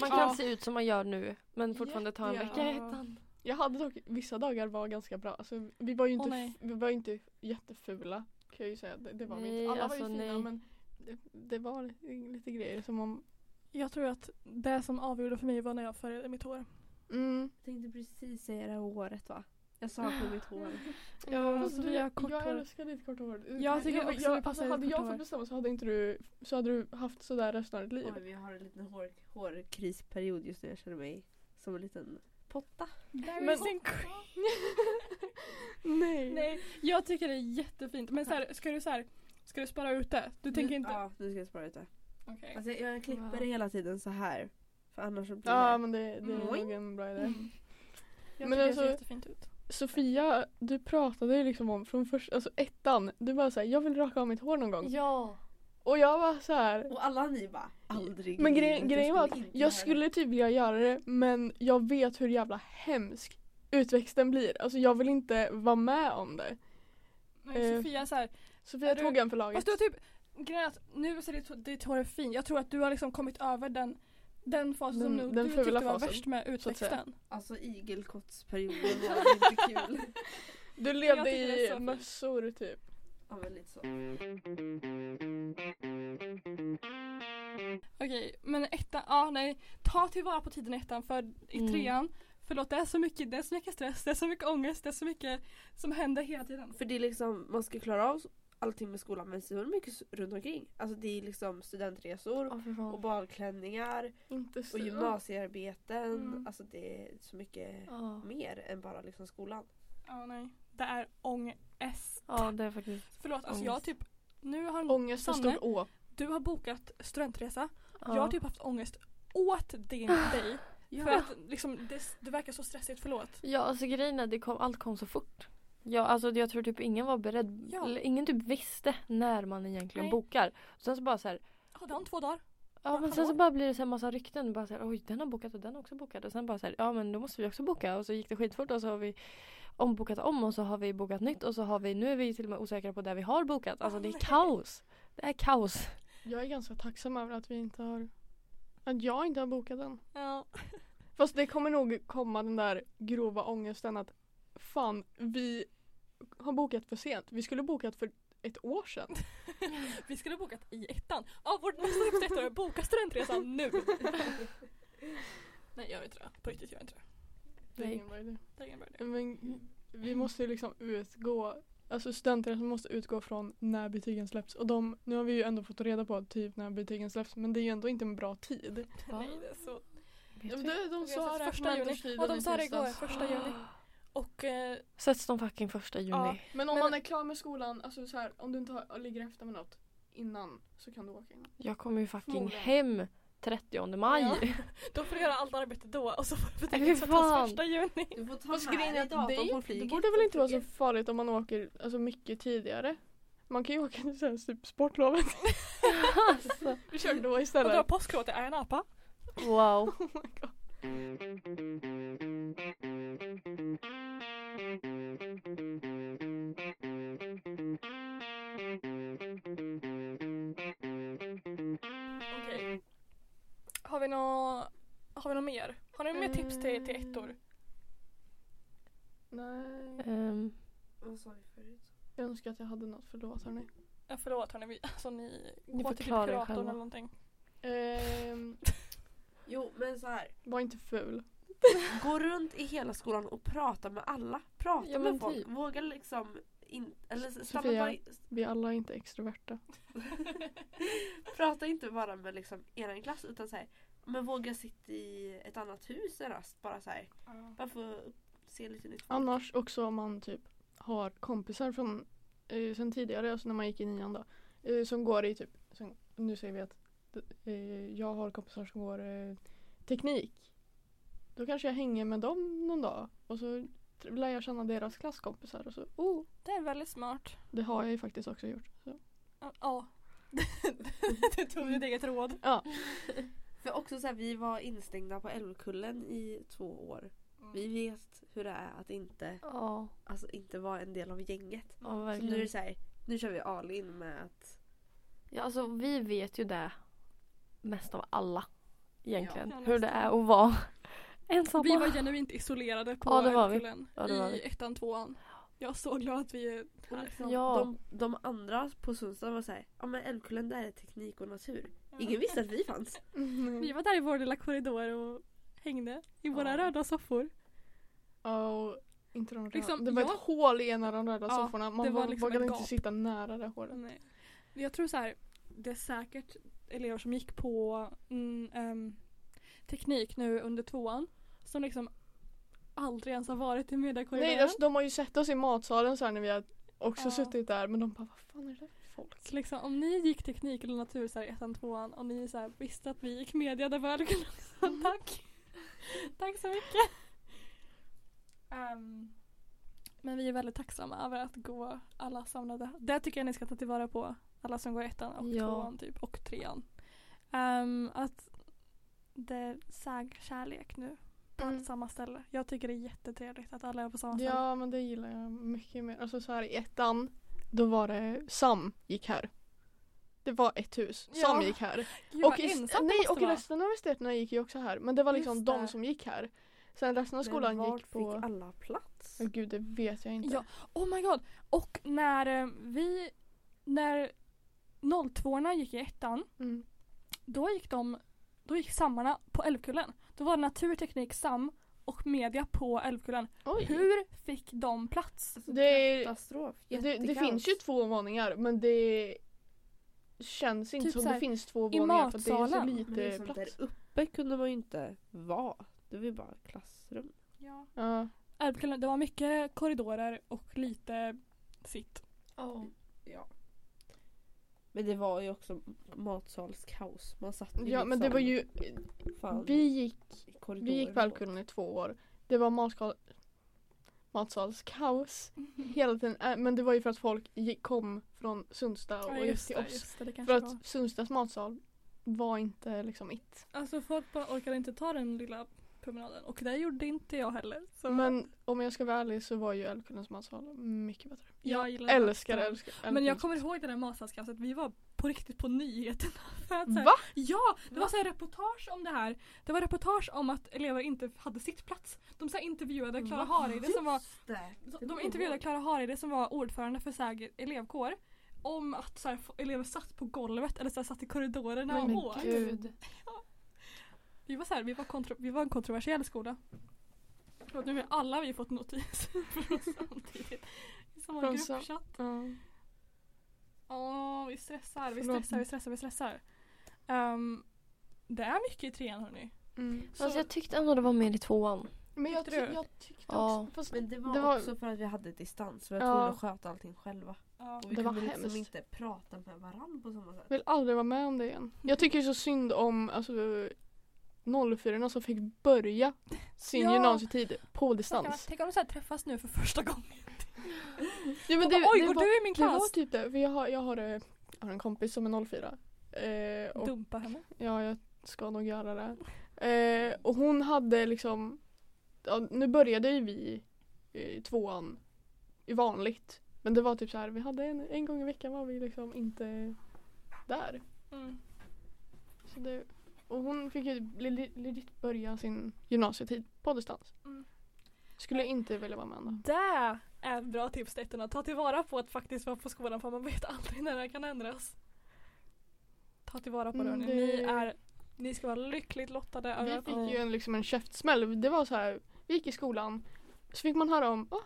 [SPEAKER 4] Man
[SPEAKER 1] Ja.
[SPEAKER 4] kan se ut som man gör nu men fortfarande ta en
[SPEAKER 1] Jätte-
[SPEAKER 4] vecka i
[SPEAKER 2] ja.
[SPEAKER 4] ettan.
[SPEAKER 1] Jag hade dock, vissa dagar var ganska bra. Alltså, vi var ju
[SPEAKER 2] Åh,
[SPEAKER 1] inte,
[SPEAKER 2] nej.
[SPEAKER 1] vi var ju inte jättefula kan jag ju säga. Det, det var vi
[SPEAKER 4] Nej,
[SPEAKER 1] inte. Alla var
[SPEAKER 4] alltså,
[SPEAKER 1] ju fina
[SPEAKER 4] nej.
[SPEAKER 1] men det, det var lite, lite grejer som om
[SPEAKER 2] Jag tror att det som avgjorde för mig var när jag färgade mitt hår.
[SPEAKER 1] mm,
[SPEAKER 3] Jag tänkte precis säga det här håret va. Jag saknar mitt hår.
[SPEAKER 2] Ja,
[SPEAKER 1] Fast
[SPEAKER 2] alltså,
[SPEAKER 1] du,
[SPEAKER 2] vi har kort
[SPEAKER 1] jag
[SPEAKER 2] hår.
[SPEAKER 1] älskar ditt korta hår.
[SPEAKER 2] Jag tycker också det passar
[SPEAKER 1] alltså, Hade
[SPEAKER 2] ditt
[SPEAKER 1] jag
[SPEAKER 2] korta
[SPEAKER 1] fått
[SPEAKER 2] hår.
[SPEAKER 1] bestämma så hade inte du, så hade du haft sådär resten av ditt liv.
[SPEAKER 3] Oj, vi har en liten hår, hårkrisperiod just nu. Jag känner mig som en liten potta.
[SPEAKER 1] Men- Nej.
[SPEAKER 2] Nej, jag tycker det är jättefint. Men så här, ska du så här, ska du spara ut det? Du tänker inte?
[SPEAKER 3] Ja, nu ska jag spara ut det.
[SPEAKER 2] Okej.
[SPEAKER 3] Alltså, jag klipper
[SPEAKER 4] Wow.
[SPEAKER 3] det hela tiden så här. För annars så blir
[SPEAKER 1] Ja
[SPEAKER 3] det...
[SPEAKER 1] men det, det är
[SPEAKER 3] Oj.
[SPEAKER 1] nog en bra idé.
[SPEAKER 2] Mm. Jag
[SPEAKER 1] Men
[SPEAKER 2] tycker det
[SPEAKER 1] alltså-
[SPEAKER 2] ser jättefint ut.
[SPEAKER 1] Sofia, du pratade ju liksom om från första, alltså ettan. Du bara såhär, jag vill raka av mitt hår någon gång.
[SPEAKER 4] Ja.
[SPEAKER 1] Och jag var så här.
[SPEAKER 3] Och alla ni bara aldrig.
[SPEAKER 1] Men
[SPEAKER 3] i
[SPEAKER 1] gre-
[SPEAKER 3] livet,
[SPEAKER 1] grejen var att
[SPEAKER 3] skulle inte göra
[SPEAKER 1] jag skulle typ vilja göra det men jag vet hur jävla hemsk utväxten blir. Alltså jag vill inte vara med om det.
[SPEAKER 2] Men
[SPEAKER 1] Eh,
[SPEAKER 2] Sofia så här,
[SPEAKER 1] Sofia
[SPEAKER 2] Är du-
[SPEAKER 1] tog en för laget.
[SPEAKER 2] Fast du har typ, grejen är att nu ser ditt, ditt hår fint. Jag tror att du har liksom kommit över den, den fasen som
[SPEAKER 1] Den-
[SPEAKER 2] nu,
[SPEAKER 1] den
[SPEAKER 2] du
[SPEAKER 1] fula
[SPEAKER 2] tyckte var
[SPEAKER 1] fasen,
[SPEAKER 2] värst med
[SPEAKER 1] så att säga.
[SPEAKER 2] utväxten.
[SPEAKER 3] Alltså igelkottsperioden var inte kul.
[SPEAKER 1] Du levde
[SPEAKER 2] tycker det är så
[SPEAKER 1] i
[SPEAKER 2] fint.
[SPEAKER 1] mössor typ.
[SPEAKER 3] Ja men lite så.
[SPEAKER 2] Okej, men ettan, ja nej. Ta tillvara på tiden i ettan för i
[SPEAKER 4] Mm.
[SPEAKER 2] trean. Förlåt det är så mycket, det är så mycket stress, det är så mycket ångest, det är så mycket som händer hela tiden.
[SPEAKER 3] För det är liksom, man ska klara av allting med skolan men så är det mycket s- runt omkring. Alltså det är liksom studentresor
[SPEAKER 4] Åh, för
[SPEAKER 3] och
[SPEAKER 4] fan.
[SPEAKER 3] badklänningar
[SPEAKER 1] Inte
[SPEAKER 3] och gymnasiearbeten.
[SPEAKER 2] Mm.
[SPEAKER 3] Alltså det är så mycket
[SPEAKER 4] Ja.
[SPEAKER 3] mer än bara liksom skolan.
[SPEAKER 2] Ja nej. Det är ångest.
[SPEAKER 4] ja det är faktiskt.
[SPEAKER 2] Förlåt alltså jag har
[SPEAKER 4] Ångest.
[SPEAKER 2] typ, nu har
[SPEAKER 1] Ångest och
[SPEAKER 2] Sanne.
[SPEAKER 1] stor å.
[SPEAKER 2] du har bokat studentresa.
[SPEAKER 4] Ja.
[SPEAKER 2] Jag har typ haft ångest åt din dig. För
[SPEAKER 4] ja.
[SPEAKER 2] att liksom, det, det verkar så stressigt, förlåt.
[SPEAKER 4] ja alltså grejen är det kom, allt kom så fort. Ja, alltså jag tror typ ingen var beredd.
[SPEAKER 2] Ja.
[SPEAKER 4] Eller ingen typ visste när man egentligen
[SPEAKER 2] Nej.
[SPEAKER 4] bokar. Sen så bara så här,
[SPEAKER 2] Ja, det har om två dagar.
[SPEAKER 4] Ja
[SPEAKER 2] Bara,
[SPEAKER 4] men sen så
[SPEAKER 2] hallå?
[SPEAKER 4] bara blir det så här massa rykten. Bara så här, Oj den har bokat och den har också bokat. Och sen bara så här, ja men då måste vi också boka. Och så gick det skitfort och så har vi ombokat om och så har vi bokat nytt. Och så har vi, nu är vi till och med osäkra på det vi har bokat. Alltså det är
[SPEAKER 2] Nej.
[SPEAKER 4] kaos. Det är kaos.
[SPEAKER 1] Jag är ganska tacksam över att vi inte har att jag inte har bokat den.
[SPEAKER 2] Ja.
[SPEAKER 1] Fast det kommer nog komma den där grova ångesten att fan vi har bokat för sent. Vi skulle bokat för ett år sedan.
[SPEAKER 2] Vi skulle ha bokat i ettan. Ja, vårt nästa tips till ettan är boka studentresan nu. Nej, jag vet inte det. På riktigt, jag vet inte det.
[SPEAKER 1] Det är
[SPEAKER 4] Nej.
[SPEAKER 1] ingen bra idé.
[SPEAKER 2] Det är ingen bra idé.
[SPEAKER 1] Men vi måste ju liksom utgå, alltså studentresan måste utgå från när betygen släpps och de, nu har vi ju ändå fått reda på typ när betygen släpps men det är ju ändå inte en bra tid.
[SPEAKER 2] Nej, det är så.
[SPEAKER 1] De, de
[SPEAKER 2] Jag har sett alltså första juni. Och de sa det igår, första juni. Och eh,
[SPEAKER 4] Sätts de fucking första juni.
[SPEAKER 1] Ja, men om
[SPEAKER 2] Men-
[SPEAKER 1] man är klar med skolan, alltså så här, om du inte har, ligger efter med något innan så kan du åka in.
[SPEAKER 4] Jag kommer ju fucking
[SPEAKER 1] Förmodligen.
[SPEAKER 4] hem 30 maj.
[SPEAKER 2] Ja. då får du göra allt arbete då och så får du
[SPEAKER 4] fy
[SPEAKER 2] betänka
[SPEAKER 4] fan.
[SPEAKER 2] sättas första juni.
[SPEAKER 3] Du får ta
[SPEAKER 1] Fast grejen är att det, är- det borde väl inte vara så farligt om man åker alltså, mycket tidigare. Man kan ju åka till så här, typ sportlovet.
[SPEAKER 4] alltså,
[SPEAKER 1] Vi kör då
[SPEAKER 2] Och dra
[SPEAKER 1] istället.
[SPEAKER 2] påsklovet i Ayia Napa.
[SPEAKER 4] wow.
[SPEAKER 2] Har vi något har vi nå mer? Har ni några mer tips till, till ettor?
[SPEAKER 1] Nej.
[SPEAKER 4] Ehm,
[SPEAKER 3] Vad sa vi förut?
[SPEAKER 1] Jag önskar att jag hade något, förlåt hörni.
[SPEAKER 2] Eh, Förlåt hörni, vi, alltså ni,
[SPEAKER 4] Ni
[SPEAKER 2] går till
[SPEAKER 4] förklarar er
[SPEAKER 2] kuratorn
[SPEAKER 4] själva.
[SPEAKER 2] eller någonting.
[SPEAKER 1] Ehm,
[SPEAKER 3] Jo men så här.
[SPEAKER 1] var inte ful.
[SPEAKER 3] Gå runt i hela skolan och prata med alla. Prata
[SPEAKER 4] Ja, men
[SPEAKER 3] med folk.
[SPEAKER 4] typ.
[SPEAKER 3] Våga liksom in, eller stanna
[SPEAKER 1] Sofia.
[SPEAKER 3] bara, i-
[SPEAKER 1] Vi alla är inte extroverta.
[SPEAKER 3] prata inte bara med liksom er klass utan så här, men våga sitta i ett annat hus en rast. Bara så här. Bara för att se lite nytt. folk.
[SPEAKER 1] Annars också om man typ har kompisar från eh, sen tidigare, alltså när man gick i nian då, eh, som går i typ, som, nu säger vi att eh, jag har kompisar som går eh, teknik. Då kanske jag hänger med dem någon dag och så tr- lär jag känna deras klasskompisar och så, oh,
[SPEAKER 2] Det är väldigt smart.
[SPEAKER 1] det har jag ju faktiskt också gjort. Så.
[SPEAKER 2] Ja, Ja. du tog ditt eget råd.
[SPEAKER 3] För också så här, vi var instängda på Älvkullen i två år. Vi vet hur det är att inte,
[SPEAKER 4] Ja,
[SPEAKER 3] alltså, inte vara en del av gänget.
[SPEAKER 4] ja
[SPEAKER 3] Så nu är det
[SPEAKER 4] verkligen.
[SPEAKER 3] så här, nu kör vi all in med att
[SPEAKER 4] Ja, alltså, vi vet ju det mest av alla egentligen.
[SPEAKER 2] Ja,
[SPEAKER 4] hur det är att vara ensamma.
[SPEAKER 2] Vi var genuint isolerade på
[SPEAKER 4] Ja, det var vi.
[SPEAKER 2] Älvkullen
[SPEAKER 4] Ja, det var
[SPEAKER 2] i
[SPEAKER 4] vi.
[SPEAKER 2] ettan, tvåan. Jag är så glad att vi är
[SPEAKER 3] Och
[SPEAKER 2] här.
[SPEAKER 3] liksom,
[SPEAKER 4] Ja.
[SPEAKER 3] de, de andra på Sundstrand var såhär, ja men Älvkullen där är teknik och natur. Ingen visste att vi fanns.
[SPEAKER 2] Vi var där i vår lilla korridor och hängde i våra
[SPEAKER 3] Ja.
[SPEAKER 2] röda soffor.
[SPEAKER 1] Ja, och inte de röda.
[SPEAKER 2] Liksom,
[SPEAKER 1] det var
[SPEAKER 2] jag-
[SPEAKER 1] ett hål i en av de röda
[SPEAKER 2] Ja,
[SPEAKER 1] sofforna. Man
[SPEAKER 2] det var
[SPEAKER 1] vå-
[SPEAKER 2] liksom
[SPEAKER 1] vågade
[SPEAKER 2] ett
[SPEAKER 1] inte
[SPEAKER 2] gap.
[SPEAKER 1] sitta nära det hålet.
[SPEAKER 2] Nej. eh, Jag tror så här, det är säkert elever som gick på mm, ehm, teknik nu under tvåan som liksom aldrig ens har varit i mediekorridoren.
[SPEAKER 1] Nej, alltså, de har ju sett oss i matsalen så här när vi har också
[SPEAKER 2] Ja.
[SPEAKER 1] suttit där men de bara vad fan är det där för folk?
[SPEAKER 2] Så liksom, om ni gick teknik eller natur så här, i ettan, tvåan och ni så här, visste att vi gick media, det var Älvkullen
[SPEAKER 1] Mm.
[SPEAKER 2] också. Tack! Tack så mycket! Ehm, men vi är väldigt tacksamma över att gå alla samlade. Det tycker jag ni ska ta tillvara på. Alla som går i ettan och
[SPEAKER 4] Ja.
[SPEAKER 2] tvåan typ och trean. Ehm, att det säg kärlek nu på
[SPEAKER 1] Mm.
[SPEAKER 2] samma ställe. Jag tycker det är jättetrevligt att alla är på samma ställe.
[SPEAKER 1] Ja men det gillar jag mycket mer. Alltså så här i ettan då var det Sam gick här. Det var ett hus.
[SPEAKER 2] Ja.
[SPEAKER 1] Sam gick här.
[SPEAKER 2] Gud, vad
[SPEAKER 1] i,
[SPEAKER 2] ensamt det
[SPEAKER 1] nej,
[SPEAKER 2] måste
[SPEAKER 1] och
[SPEAKER 2] vara.
[SPEAKER 1] resten av esteterna gick ju också här. Men det var liksom
[SPEAKER 2] Just det.
[SPEAKER 1] de som gick här. Sen resten av skolan
[SPEAKER 3] Men vart
[SPEAKER 1] gick på...
[SPEAKER 3] fick alla plats?
[SPEAKER 1] Oh, gud det vet jag inte.
[SPEAKER 2] Ja, oh my god. Och när eh, vi, när 02orna gick i ettan,
[SPEAKER 1] Mm.
[SPEAKER 2] då gick de, då gick sammarna på Älvkullen. Då var det naturteknik, sam och media på Älvkullen.
[SPEAKER 1] Oj.
[SPEAKER 2] Hur fick de plats?
[SPEAKER 3] Alltså,
[SPEAKER 1] Det är-
[SPEAKER 3] katastrof.
[SPEAKER 1] Det, det
[SPEAKER 3] Jättekaos.
[SPEAKER 1] finns ju två våningar men det känns inte
[SPEAKER 2] Typ
[SPEAKER 1] som
[SPEAKER 2] så
[SPEAKER 1] det
[SPEAKER 2] här,
[SPEAKER 1] finns två
[SPEAKER 2] i
[SPEAKER 1] våningar för att det är så
[SPEAKER 2] matsalen.
[SPEAKER 3] Men det är
[SPEAKER 1] lite
[SPEAKER 3] sånt
[SPEAKER 1] eh, plats.
[SPEAKER 3] där uppe kunde man ju inte vara. Det var ju bara klassrum.
[SPEAKER 2] Ja.
[SPEAKER 1] Ja.
[SPEAKER 2] Älvkullen, det var mycket korridorer och lite sitt.
[SPEAKER 3] Men det var ju också matsalskaos. Man satt ju
[SPEAKER 1] ja men det
[SPEAKER 3] liksom
[SPEAKER 1] var ju,
[SPEAKER 3] fan
[SPEAKER 1] vi gick
[SPEAKER 3] i korridoren.
[SPEAKER 1] Vi gick på Alkulen i två år. Det var matsal matsalskaos hela tiden. Äh, Men det var ju för att folk gick, kom från Sundsta och gick till oss.
[SPEAKER 2] det,
[SPEAKER 1] för
[SPEAKER 2] det kanske var.
[SPEAKER 1] att Sundstas matsal var inte liksom it.
[SPEAKER 2] Alltså folk bara orkade inte ta den lilla promenaden och det gjorde inte jag heller. Så
[SPEAKER 1] Men om jag ska vara ärlig så var ju Älvkullens matsal mycket bättre.
[SPEAKER 2] jag gillade
[SPEAKER 1] Älskar
[SPEAKER 2] den.
[SPEAKER 1] älskar
[SPEAKER 2] Men jag
[SPEAKER 1] Älvkullens-
[SPEAKER 2] kommer ihåg det där matsalskaoset, vi var på riktigt på nyheterna. För att, så här,
[SPEAKER 1] Va?
[SPEAKER 2] Ja, det var så här reportage om det här. Det var reportage om att elever inte hade sitt plats. De så här intervjuade Klara Hareide som var
[SPEAKER 3] Där.
[SPEAKER 2] de intervjuade Klara Hareide som var ordförande för Säg elevkår om att så här, f- elever satt på golvet eller så här, satt i korridorerna
[SPEAKER 1] Men
[SPEAKER 2] och åt.
[SPEAKER 1] gud.
[SPEAKER 4] Alltså,
[SPEAKER 2] Vi var, så här, vi, var kontro- vi var en kontroversiell skola. Förlåt, nu har alla vi fått notis från samtidigt. I samma
[SPEAKER 1] Från sam-
[SPEAKER 2] gruppchatt.
[SPEAKER 1] Ja.
[SPEAKER 2] Ja, vi stressar, vi
[SPEAKER 1] Förlåt.
[SPEAKER 2] stressar, vi stressar, vi stressar. Ehm, det är mycket i trean hörni.
[SPEAKER 1] Mm.
[SPEAKER 2] Så-
[SPEAKER 4] Alltså, jag tyckte ändå det var mer i tvåan.
[SPEAKER 1] Men jag, ty-
[SPEAKER 2] Tyckte du?
[SPEAKER 1] jag tyckte
[SPEAKER 4] Ja.
[SPEAKER 1] också, fast
[SPEAKER 3] Men det var,
[SPEAKER 1] Det var-
[SPEAKER 3] också för att vi hade distans. Vi var
[SPEAKER 1] Ja.
[SPEAKER 3] tvungna att sköta allting själva.
[SPEAKER 2] Ja.
[SPEAKER 3] Och vi
[SPEAKER 1] Det var
[SPEAKER 3] kunde liksom
[SPEAKER 1] hemskt.
[SPEAKER 3] inte prata med varandra på samma sätt.
[SPEAKER 1] Jag vill aldrig vara med om det igen. Jag tycker så synd om alltså, 04 som fick börja sin
[SPEAKER 2] Ja.
[SPEAKER 1] gymnasietid på
[SPEAKER 2] Stackarna,
[SPEAKER 1] distans.
[SPEAKER 2] Tänk om de så här träffas nu för första gången.
[SPEAKER 1] Ja, men
[SPEAKER 2] De bara, Oj, går
[SPEAKER 1] var,
[SPEAKER 2] du i min
[SPEAKER 1] det var
[SPEAKER 2] klass?
[SPEAKER 1] typ det. För jag, har, jag, har, eh, jag har en kompis som är 04. Eh, och,
[SPEAKER 2] Dumpa henne.
[SPEAKER 1] ja, jag ska nog göra det. Eh, och hon hade liksom, ja, nu började ju vi i tvåan i vanligt. Men det var typ så här, vi hade en, en gång i veckan var vi liksom inte där.
[SPEAKER 2] Mm.
[SPEAKER 1] Så det, Och hon fick ju le- legit börja sin gymnasietid på distans.
[SPEAKER 2] Mm.
[SPEAKER 1] Skulle inte vilja vara med ändå.
[SPEAKER 2] Det är ett bra tips till att ta tillvara på att faktiskt vara på skolan för man vet aldrig när det kan ändras. Ta tillvara på det,
[SPEAKER 1] Mm,
[SPEAKER 2] hörni.
[SPEAKER 1] det-
[SPEAKER 2] Ni, är, ni ska vara lyckligt lottade. över
[SPEAKER 1] Vi
[SPEAKER 2] att-
[SPEAKER 1] fick ju en, liksom en käftsmäll. Det var så här, vi gick i skolan så fick man höra om, ah,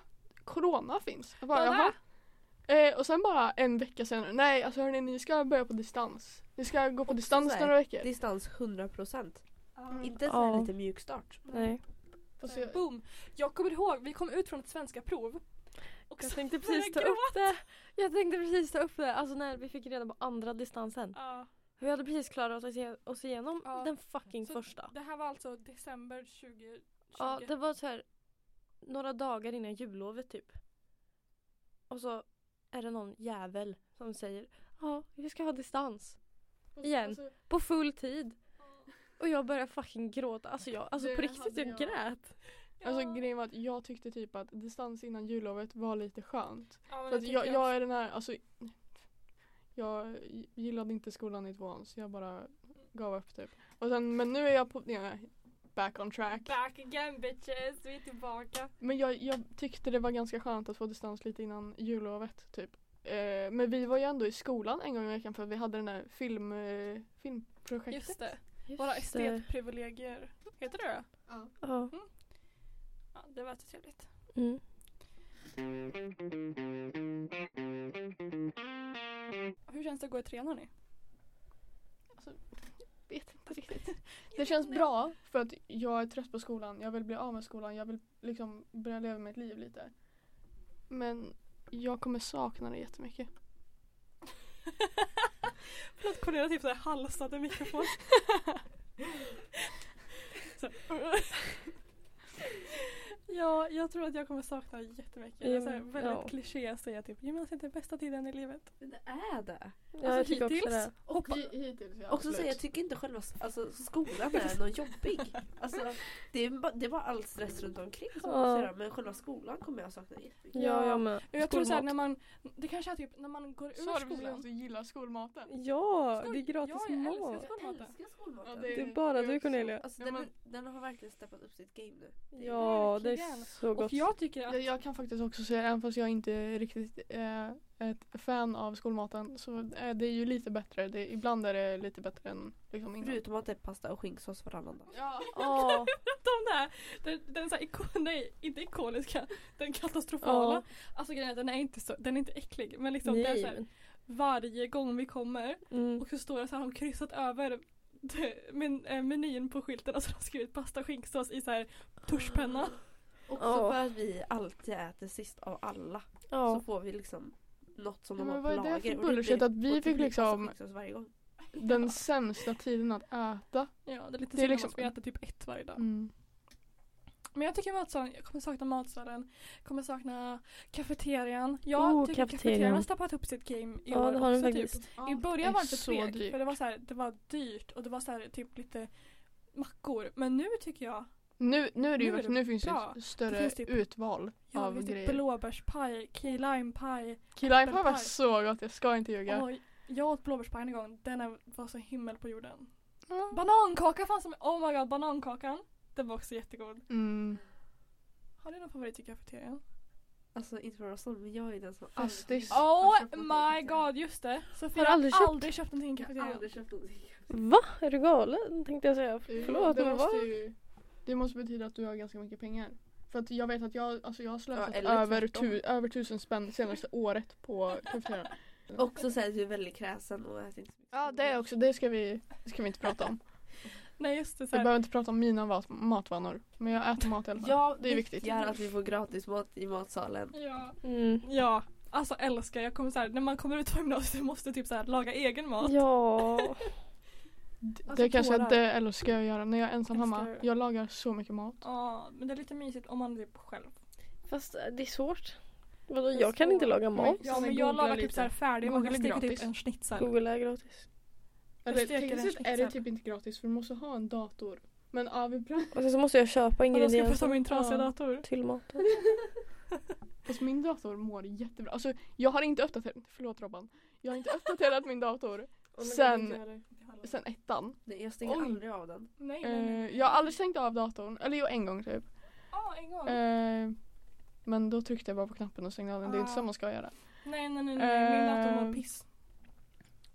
[SPEAKER 1] corona finns. Jag bara,
[SPEAKER 2] Vad är
[SPEAKER 1] Jaha. Eh, och sen bara en vecka senare, nej alltså hörni ni ska börja på distans. Ni ska gå på distans
[SPEAKER 3] så här,
[SPEAKER 1] några veckor.
[SPEAKER 3] Distans 100%.
[SPEAKER 1] Mm.
[SPEAKER 2] Ja.
[SPEAKER 3] Inte en sån här
[SPEAKER 4] Ja.
[SPEAKER 3] lite mjuk start.
[SPEAKER 4] Nej.
[SPEAKER 1] Och så,
[SPEAKER 2] Boom! Jag kommer ihåg, vi kom ut från ett svenska prov. Och
[SPEAKER 4] Jag
[SPEAKER 2] så-
[SPEAKER 4] tänkte precis ta
[SPEAKER 2] Gråt.
[SPEAKER 4] upp det. Jag tänkte precis ta upp det. Alltså när vi fick reda på andra distansen.
[SPEAKER 2] Ja.
[SPEAKER 4] Vi hade precis klarat oss ige- oss igenom
[SPEAKER 2] Ja.
[SPEAKER 4] den fucking
[SPEAKER 2] Så-
[SPEAKER 4] första.
[SPEAKER 2] Det här var alltså december 2020.
[SPEAKER 4] Ja, det var så här några dagar innan jullovet typ. Och så är det någon jävel som säger ja, vi ska ha distans. igen.
[SPEAKER 1] Alltså,
[SPEAKER 4] På full tid. Och jag började fucking gråta. Alltså, jag, alltså
[SPEAKER 1] Det
[SPEAKER 4] på riktigt,
[SPEAKER 1] hade
[SPEAKER 4] jag,
[SPEAKER 1] jag.
[SPEAKER 4] grät.
[SPEAKER 1] alltså
[SPEAKER 2] Ja.
[SPEAKER 1] grejen var att jag tyckte typ att distans innan jullovet var lite skönt.
[SPEAKER 2] Ja, men
[SPEAKER 1] För
[SPEAKER 2] det
[SPEAKER 1] att
[SPEAKER 2] tycker
[SPEAKER 1] jag,
[SPEAKER 2] jag
[SPEAKER 1] jag är den här, alltså jag gillade inte skolan i tvåan så jag bara gav upp typ. Och sen, men nu är jag på, nej, back on track.
[SPEAKER 2] Back again bitches, vi är tillbaka.
[SPEAKER 1] Men jag, jag tyckte det var ganska skönt att få distans lite innan jullovet typ. Eh, men vi var ju ändå i skolan en gång i veckan för vi hade den där film, eh, filmprojektet.
[SPEAKER 2] Just det,
[SPEAKER 4] Just
[SPEAKER 2] våra
[SPEAKER 4] det.
[SPEAKER 2] estetprivilegier. Heter det det?
[SPEAKER 4] Ja.
[SPEAKER 2] Ja, det var så trevligt.
[SPEAKER 4] Mm.
[SPEAKER 2] Hur känns det att gå i trean hörni?
[SPEAKER 1] Vet inte riktigt. Det känns bra för att jag är trött på skolan. Jag vill bli av med skolan. Jag vill liksom börja leva mitt liv lite. Men jag kommer sakna det jättemycket.
[SPEAKER 2] Förlåt Cornelia typ såhär halsade mikrofon. Så. ja, jag tror att jag kommer sakna jättemycket. Det är så här
[SPEAKER 4] Mm,
[SPEAKER 2] väldigt
[SPEAKER 4] ja.
[SPEAKER 2] kliché att säga typ gymnasiet är bästa tiden i livet.
[SPEAKER 3] Men det är det.
[SPEAKER 4] Ja,
[SPEAKER 2] Alltså,
[SPEAKER 4] jag tycker också
[SPEAKER 2] hittills-
[SPEAKER 4] det.
[SPEAKER 3] Och,
[SPEAKER 1] Hi- Hittills ja.
[SPEAKER 3] också säga,
[SPEAKER 1] absolut.
[SPEAKER 3] jag tycker inte själva alltså, skolan är någon jobbig. Alltså, det, är bara, det är bara all stress runt omkring som
[SPEAKER 4] Ja.
[SPEAKER 3] man måste göra. Men själva skolan kommer jag sakna jättemycket.
[SPEAKER 4] Ja, jag med.
[SPEAKER 2] Och jag tror såhär
[SPEAKER 4] Skolmat.
[SPEAKER 2] när man, det kanske är typ när man går
[SPEAKER 1] Sa
[SPEAKER 2] ur
[SPEAKER 1] du precis att
[SPEAKER 2] skolan.
[SPEAKER 1] du gillar skolmaten?
[SPEAKER 4] Ja,
[SPEAKER 2] Skoj.
[SPEAKER 4] det är gratis
[SPEAKER 2] Ja, jag älskar
[SPEAKER 4] mat.
[SPEAKER 2] skolan. Skolmaten.
[SPEAKER 3] Jag älskar skolmaten.
[SPEAKER 1] Ja,
[SPEAKER 4] Det är bara du Cornelia.
[SPEAKER 3] Alltså,
[SPEAKER 1] Ja,
[SPEAKER 3] den,
[SPEAKER 1] men-
[SPEAKER 3] den har verkligen steppat upp sitt game nu.
[SPEAKER 4] Ja, det
[SPEAKER 2] Verkligen.
[SPEAKER 4] är så gott.
[SPEAKER 2] Och jag tycker att
[SPEAKER 1] Jag, jag kan faktiskt också säga, även fast jag inte riktigt är ett fan av skolmaten så är det ju lite bättre. Det, ibland är det lite bättre än liksom innan.
[SPEAKER 3] Förutom att det är pasta och skinksås varannan dag.
[SPEAKER 1] Ja.
[SPEAKER 4] Ja,
[SPEAKER 2] de där, den, den såhär ikon, nej inte ikoniska, den katastrofala.
[SPEAKER 4] ja.
[SPEAKER 2] Alltså grejen är att den är inte så, den är inte äcklig men liksom det är
[SPEAKER 4] Nej,
[SPEAKER 2] så här,
[SPEAKER 4] men-
[SPEAKER 2] varje gång vi kommer
[SPEAKER 4] Mm.
[SPEAKER 2] Och så står det så här, de har kryssat över det- men, eh, menyn på skylten och så har de skrivit pasta och skinksås i så här tuschpenna.
[SPEAKER 3] Också
[SPEAKER 4] Ja.
[SPEAKER 3] för att vi alltid äter sist av alla. Så
[SPEAKER 4] Ja.
[SPEAKER 3] får vi liksom något som
[SPEAKER 1] Ja,
[SPEAKER 3] de
[SPEAKER 1] men
[SPEAKER 3] har på
[SPEAKER 1] vad är det
[SPEAKER 3] lager.
[SPEAKER 1] för
[SPEAKER 3] och blir-
[SPEAKER 1] bullshit att vi
[SPEAKER 3] och det
[SPEAKER 1] fick
[SPEAKER 3] blir
[SPEAKER 1] liksom-
[SPEAKER 3] pasta och skinksås varje gång.
[SPEAKER 1] Den sämsta tiden att äta.
[SPEAKER 2] Ja, det är lite
[SPEAKER 1] Det är
[SPEAKER 2] synd
[SPEAKER 1] liksom-
[SPEAKER 2] liksom... vi äter typ ett varje dag.
[SPEAKER 1] Mm.
[SPEAKER 2] Men jag tycker matsalen, jag kommer sakna matsalen, jag kommer sakna kafeterian. Jag
[SPEAKER 4] Oh,
[SPEAKER 2] tycker kafeterian
[SPEAKER 4] kafeterian.
[SPEAKER 2] har stappat upp sitt game i
[SPEAKER 4] ja,
[SPEAKER 2] år
[SPEAKER 4] det har den
[SPEAKER 2] också typ.
[SPEAKER 4] faktiskt.
[SPEAKER 2] I början var
[SPEAKER 1] är
[SPEAKER 2] det lite
[SPEAKER 1] så
[SPEAKER 2] segt
[SPEAKER 1] dyrt.
[SPEAKER 2] för det var så här, det var dyrt och det var så här typ lite mackor. Men nu tycker jag,
[SPEAKER 1] Nu, nu, är det ju,
[SPEAKER 2] Nu är
[SPEAKER 1] verkligen-
[SPEAKER 2] det
[SPEAKER 1] nu finns det
[SPEAKER 2] bra.
[SPEAKER 1] ett större
[SPEAKER 2] Det finns typ-
[SPEAKER 1] utval
[SPEAKER 2] jag
[SPEAKER 1] av
[SPEAKER 2] vill typ
[SPEAKER 1] grejer. Blå...
[SPEAKER 2] blåbärspaj, key lime paj,
[SPEAKER 1] Kilajpa var
[SPEAKER 2] äppelpaj.
[SPEAKER 1] så gott, jag ska inte ljuga.
[SPEAKER 2] Oj, jag åt blåbärspaj en gång, den är- var så himmel på jorden. Banankaka fanns som, oh my god, banankakan. Den var också jättegod.
[SPEAKER 1] Mm.
[SPEAKER 2] Har ni någon favorit i kafeterian?
[SPEAKER 3] Alltså inte för oss men jag är den som Alltså,
[SPEAKER 1] Fast det är-
[SPEAKER 2] Oh
[SPEAKER 3] har köpt någonting i
[SPEAKER 2] my god, just det. Sofia
[SPEAKER 4] Har du aldrig köpt?
[SPEAKER 2] aldrig köpt någonting i
[SPEAKER 3] kafeterian. Jag har
[SPEAKER 2] kafeterian.
[SPEAKER 3] aldrig köpt någonting.
[SPEAKER 4] Va? Är du galen? Tänkte jag säga. Förlåt,
[SPEAKER 1] det
[SPEAKER 4] men
[SPEAKER 1] måste,
[SPEAKER 4] vad?
[SPEAKER 1] ju, det måste betyda att du har ganska mycket pengar. För att jag vet att jag, alltså jag har slösat
[SPEAKER 3] eller
[SPEAKER 1] över,
[SPEAKER 3] tvärtom.
[SPEAKER 1] tu, över tusen spänn senaste året på kafeterian.
[SPEAKER 3] Också säger att du är väldigt kräsen och äter inte så mycket.
[SPEAKER 1] Ja det är också, det ska vi, det ska vi inte prata om.
[SPEAKER 2] Nej just det,
[SPEAKER 1] Vi
[SPEAKER 2] så här,
[SPEAKER 1] behöver inte prata om mina vat- matvanor. Men jag äter mat i alla fall.
[SPEAKER 3] Ja,
[SPEAKER 1] det är viktigt.
[SPEAKER 3] gör att vi får gratis mat i matsalen.
[SPEAKER 2] ja,
[SPEAKER 4] Mm.
[SPEAKER 2] ja, alltså älskar jag kommer så här, när man kommer ut från gymnasiet måste typ så här, laga egen
[SPEAKER 4] Mm.
[SPEAKER 2] mat.
[SPEAKER 4] Ja.
[SPEAKER 1] Det,
[SPEAKER 2] Alltså,
[SPEAKER 1] det kanske
[SPEAKER 2] tårar.
[SPEAKER 1] inte eller ska jag göra när jag är ensam hemma.
[SPEAKER 2] Älskar.
[SPEAKER 1] Jag lagar så mycket mat.
[SPEAKER 2] Ja, men det är lite mysigt om man är typ själv.
[SPEAKER 4] Fast eh, det är svårt. Vadå,
[SPEAKER 1] är
[SPEAKER 4] jag kan inte
[SPEAKER 1] svårt.
[SPEAKER 4] laga mat.
[SPEAKER 2] Ja
[SPEAKER 1] Så
[SPEAKER 2] men
[SPEAKER 1] ni
[SPEAKER 2] jag
[SPEAKER 1] googlar
[SPEAKER 2] lagar typ
[SPEAKER 1] lite.
[SPEAKER 2] så här färdig,
[SPEAKER 1] Googlar
[SPEAKER 2] man steker
[SPEAKER 1] gratis.
[SPEAKER 2] typ en schnitzel.
[SPEAKER 4] Google är gratis.
[SPEAKER 1] Eller
[SPEAKER 2] steker en
[SPEAKER 1] tekniskt sett är det
[SPEAKER 2] schnitzel.
[SPEAKER 1] typ inte gratis för du måste ha en dator. Men ja, vi pratar.
[SPEAKER 4] Och sen så måste jag köpa
[SPEAKER 2] Alla ska prata om
[SPEAKER 4] ingredienser
[SPEAKER 2] min trasiga
[SPEAKER 1] Ja.
[SPEAKER 2] dator.
[SPEAKER 4] till maten.
[SPEAKER 1] Fast min dator mår jättebra. Alltså jag har inte uppdaterat, förlåt Robban. Jag har inte uppdaterat min dator
[SPEAKER 3] men det
[SPEAKER 1] Sen-
[SPEAKER 3] vet jag heller.
[SPEAKER 1] Sen ettan.
[SPEAKER 3] Nej, jag stänger
[SPEAKER 1] Oj.
[SPEAKER 3] aldrig av den.
[SPEAKER 2] Nej, nej, nej.
[SPEAKER 1] Eh, jag har aldrig stängt av datorn. Eller jo, en gång typ.
[SPEAKER 2] Ja, en gång.
[SPEAKER 1] Eh, men då tryckte jag bara på knappen och stängde av den. Det är
[SPEAKER 2] Ah.
[SPEAKER 1] inte så man ska göra.
[SPEAKER 2] nej, nej, nej, nej. Min dator mår
[SPEAKER 1] eh,
[SPEAKER 2] piss.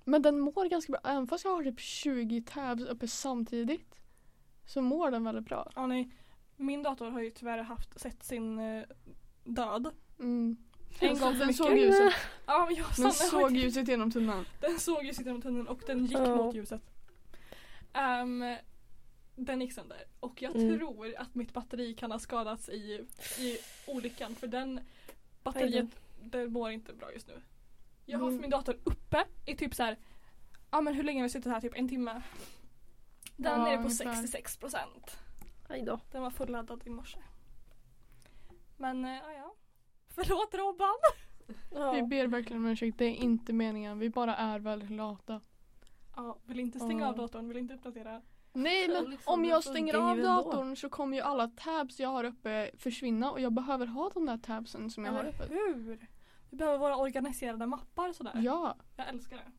[SPEAKER 1] Men den mår ganska bra. Även fast jag har typ 20 tabs uppe samtidigt så mår den väldigt bra.
[SPEAKER 2] Ja, nej. Min dator har ju tyvärr haft, sett sin eh, död.
[SPEAKER 1] Mm.
[SPEAKER 2] En gång för
[SPEAKER 1] den såg
[SPEAKER 2] mycket.
[SPEAKER 1] ljuset.
[SPEAKER 2] Ja, men jag
[SPEAKER 1] Den
[SPEAKER 2] Sanna har
[SPEAKER 1] såg
[SPEAKER 2] ju-
[SPEAKER 1] ljuset genom tunnan.
[SPEAKER 2] Den såg ljuset genom tunneln och den gick
[SPEAKER 4] Ja.
[SPEAKER 2] mot ljuset. Ehm, den gick sönder och jag
[SPEAKER 4] Mm.
[SPEAKER 2] tror att mitt batteri kan ha skadats i, i olyckan för den
[SPEAKER 4] Aj
[SPEAKER 2] batteriet det mår inte bra just nu. Jag har haft
[SPEAKER 1] Mm.
[SPEAKER 2] min dator uppe i typ så här, ja men hur länge har vi suttit här? Typ en timme. Den
[SPEAKER 1] Ja,
[SPEAKER 2] är nere på
[SPEAKER 1] ungefär.
[SPEAKER 2] 66 procent.
[SPEAKER 3] Aj då.
[SPEAKER 2] Den var fulladdad i morse. Men eh, ja, ja. Förlåt Robban!
[SPEAKER 1] Vi
[SPEAKER 4] Ja.
[SPEAKER 1] ber verkligen om ursäkt. Det är inte meningen. Vi bara är väldigt lata.
[SPEAKER 2] Ja, vill inte stänga
[SPEAKER 1] Ja.
[SPEAKER 2] av datorn, vill inte uppdatera.
[SPEAKER 1] Nej men
[SPEAKER 3] liksom,
[SPEAKER 1] om
[SPEAKER 3] det
[SPEAKER 1] jag
[SPEAKER 3] funkar
[SPEAKER 1] stänger
[SPEAKER 3] ju
[SPEAKER 1] av
[SPEAKER 3] ändå.
[SPEAKER 1] datorn så kommer ju alla tabs jag har uppe försvinna och jag behöver ha de där tabsen som jag har
[SPEAKER 2] Eller
[SPEAKER 1] uppe.
[SPEAKER 2] hur? Vi behöver våra organiserade mappar sådär.
[SPEAKER 1] Ja,
[SPEAKER 2] Jag älskar det.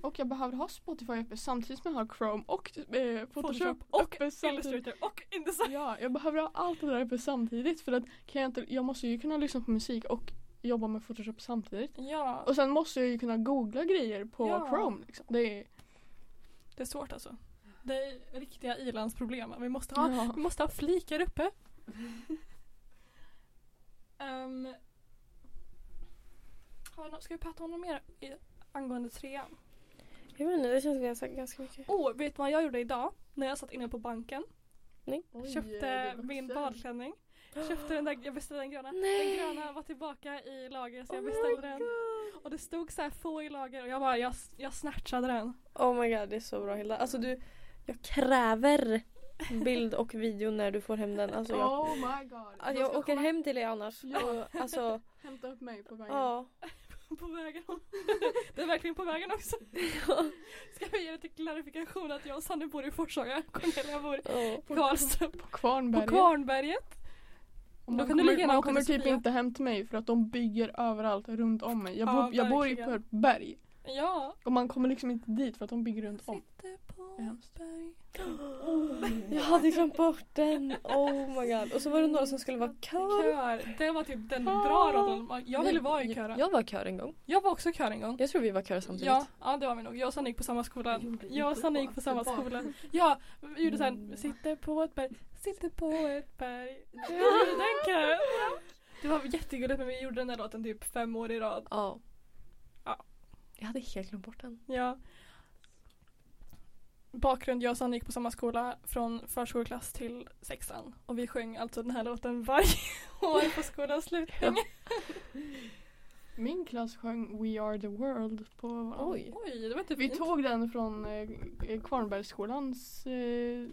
[SPEAKER 1] och jag behöver ha Spotify uppe samtidigt som jag har Chrome och eh, Photoshop,
[SPEAKER 2] Photoshop och
[SPEAKER 1] och uppe samtidigt.
[SPEAKER 2] Illustrator och Indesign.
[SPEAKER 1] Ja, jag behöver ha allt det där uppe samtidigt för att kan jag, inte, jag måste ju kunna lyssna på musik och jobba med Photoshop samtidigt.
[SPEAKER 2] Ja,
[SPEAKER 1] Och sen måste jag ju kunna googla grejer på
[SPEAKER 2] Ja.
[SPEAKER 1] Chrome. Liksom. Det är,
[SPEAKER 2] det är svårt alltså. Det är riktiga ilandsproblem. Vi måste ha,
[SPEAKER 1] ja.
[SPEAKER 2] vi måste ha flikar uppe. um, har vi nå- ska vi prata om något mer i, angående trean?
[SPEAKER 4] Jag vet inte, det känns som vi har sagt ganska mycket.
[SPEAKER 2] Oh, vet du vad jag gjorde idag? När jag satt inne på banken.
[SPEAKER 1] Oj, det
[SPEAKER 2] köpte
[SPEAKER 1] är
[SPEAKER 2] min
[SPEAKER 1] vuxen.
[SPEAKER 2] badklänning. Köpte den där, jag beställde den gröna.
[SPEAKER 4] Nej.
[SPEAKER 2] Den gröna var tillbaka i lager så jag
[SPEAKER 4] Oh my
[SPEAKER 2] beställde den. Och det stod så här få i lager och jag bara, jag, jag snatchade den.
[SPEAKER 4] Oh my god, det är så bra Hilda. Alltså du, jag kräver bild och video när du får hem den. Alltså jag,
[SPEAKER 1] Oh my god.
[SPEAKER 4] alltså,
[SPEAKER 1] Jag
[SPEAKER 4] jag
[SPEAKER 1] ska
[SPEAKER 4] åker
[SPEAKER 1] komma-
[SPEAKER 4] hem till dig annars.
[SPEAKER 1] Ja.
[SPEAKER 4] Och, alltså,
[SPEAKER 1] Hämta upp mig på vägen.
[SPEAKER 4] ja.
[SPEAKER 2] På vägen. den är verkligen på vägen också. Ska vi ge det till klarifikation att jag och Sanne bor i Forshaga. Cornelia bor
[SPEAKER 4] ja.
[SPEAKER 2] i Karlstad.
[SPEAKER 1] På Kvarnberget.
[SPEAKER 2] På Kvarnberget.
[SPEAKER 1] Och
[SPEAKER 2] Då
[SPEAKER 1] Man
[SPEAKER 2] kan
[SPEAKER 1] kommer,
[SPEAKER 2] du lika gärna
[SPEAKER 1] man
[SPEAKER 2] åka
[SPEAKER 1] kommer
[SPEAKER 2] till
[SPEAKER 1] typ
[SPEAKER 2] Sofia.
[SPEAKER 1] inte hem till mig för att de bygger överallt runt om mig. Jag,
[SPEAKER 2] Ja,
[SPEAKER 1] bor- jag bor ju på
[SPEAKER 2] verkligen.
[SPEAKER 1] ett berg.
[SPEAKER 2] Ja.
[SPEAKER 1] Och man kommer liksom inte dit för att de bygger runt om.
[SPEAKER 2] Sitter på
[SPEAKER 1] Det är hemskt.
[SPEAKER 2] berg.
[SPEAKER 4] Jag hade glömt bort den. Oh my god. Och så var det några som skulle vara kör.
[SPEAKER 2] Kör. Det var typ den bra rollen. Jag ville vara i kören.
[SPEAKER 4] Jag var i kör en gång.
[SPEAKER 2] Jag var också i kör en gång.
[SPEAKER 4] Jag tror vi var i kör
[SPEAKER 1] typ
[SPEAKER 4] samtidigt.
[SPEAKER 2] Ja, ja det var vi nog. Jag och Sanna gick på samma skola.
[SPEAKER 3] Jag gjorde
[SPEAKER 2] Jag och
[SPEAKER 3] inte
[SPEAKER 2] Sanna
[SPEAKER 3] så.
[SPEAKER 2] gick på samma
[SPEAKER 3] Det var-
[SPEAKER 2] skola. Ja, vi gjorde såhär,
[SPEAKER 3] Mm.
[SPEAKER 2] sitter på ett berg, sitter på ett berg. Det var den kören. Det var jättegulligt men vi gjorde den där låten typ fem år i rad.
[SPEAKER 4] Ja.
[SPEAKER 2] Ja.
[SPEAKER 4] Jag hade helt glömt bort den.
[SPEAKER 2] Ja. Bakgrund, jag och Sanna gick på samma skola från förskoleklass till sexan. Och vi sjöng alltså den här låten varje år på skolans slutning.
[SPEAKER 1] Min klass sjöng We are the world på varandra.
[SPEAKER 4] Oj.
[SPEAKER 2] Oj, det var inte
[SPEAKER 1] Vi
[SPEAKER 2] fint.
[SPEAKER 1] tog den från eh, Kvarnbergsskolans eh,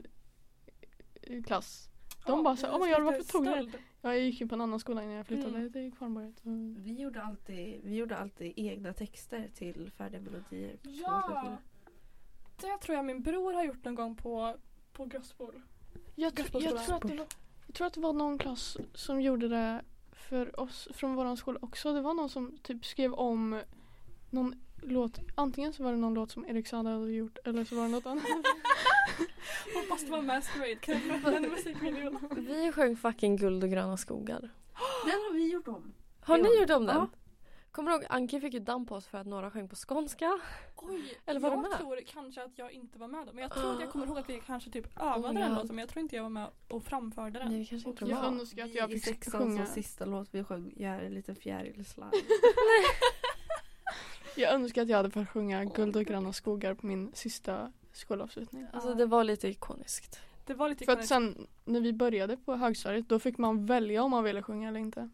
[SPEAKER 1] eh, klass. De
[SPEAKER 2] Ja,
[SPEAKER 1] bara så här,
[SPEAKER 2] vi
[SPEAKER 1] "Oh my god, varför
[SPEAKER 2] snackar
[SPEAKER 1] tog ni den?"
[SPEAKER 2] stöld.
[SPEAKER 1] Jag gick ju på en annan skola innan jag flyttade
[SPEAKER 2] Mm.
[SPEAKER 1] till Kvarnberget. Så-
[SPEAKER 3] Vi gjorde, alltid, vi gjorde alltid egna texter till färdiga melodier. på
[SPEAKER 2] Ja!
[SPEAKER 3] skolans
[SPEAKER 2] Det tror jag min bror har gjort någon gång på, på Grossbol.
[SPEAKER 1] Jag, tr- jag, tror att det var, jag tror att det var någon klass som gjorde det för oss från våran skola också. Det var någon som typ skrev om någon låt. Antingen så var det någon låt som Erik Saade hade gjort eller så var det något annat.
[SPEAKER 2] Hoppas det var Masquerade. Kan jag få den musikvideon?
[SPEAKER 4] Vi sjöng fucking guld och gröna skogar.
[SPEAKER 3] Den har vi gjort om.
[SPEAKER 4] Har
[SPEAKER 3] Ja.
[SPEAKER 4] ni gjort om den?
[SPEAKER 3] Ja.
[SPEAKER 4] Kommer du ihåg Anki fick ju damm på oss för att några sjöng på skånska?
[SPEAKER 2] Oj,
[SPEAKER 4] Eller var
[SPEAKER 2] jag
[SPEAKER 4] du med?
[SPEAKER 2] tror kanske att jag inte var med då. Men jag tror att jag kommer ihåg att vi kanske typ övade
[SPEAKER 4] Oh my
[SPEAKER 2] den
[SPEAKER 4] God.
[SPEAKER 2] låten men jag tror inte jag var med och framförde den.
[SPEAKER 4] Nej, vi kanske inte
[SPEAKER 1] Jag
[SPEAKER 4] var.
[SPEAKER 1] önskar att jag
[SPEAKER 3] Vi i
[SPEAKER 1] fick
[SPEAKER 3] sexan
[SPEAKER 1] sjunga.
[SPEAKER 3] som sista låt vi sjöng Jag är en liten fjärilslarv.
[SPEAKER 1] Jag önskar att jag hade fått sjunga Guld och gröna skogar på min sista skolavslutning.
[SPEAKER 4] Alltså det var lite ikoniskt.
[SPEAKER 2] Det var lite
[SPEAKER 1] För att
[SPEAKER 2] ikoniskt.
[SPEAKER 1] sen när vi började på högstadiet då fick man välja om man ville sjunga eller inte.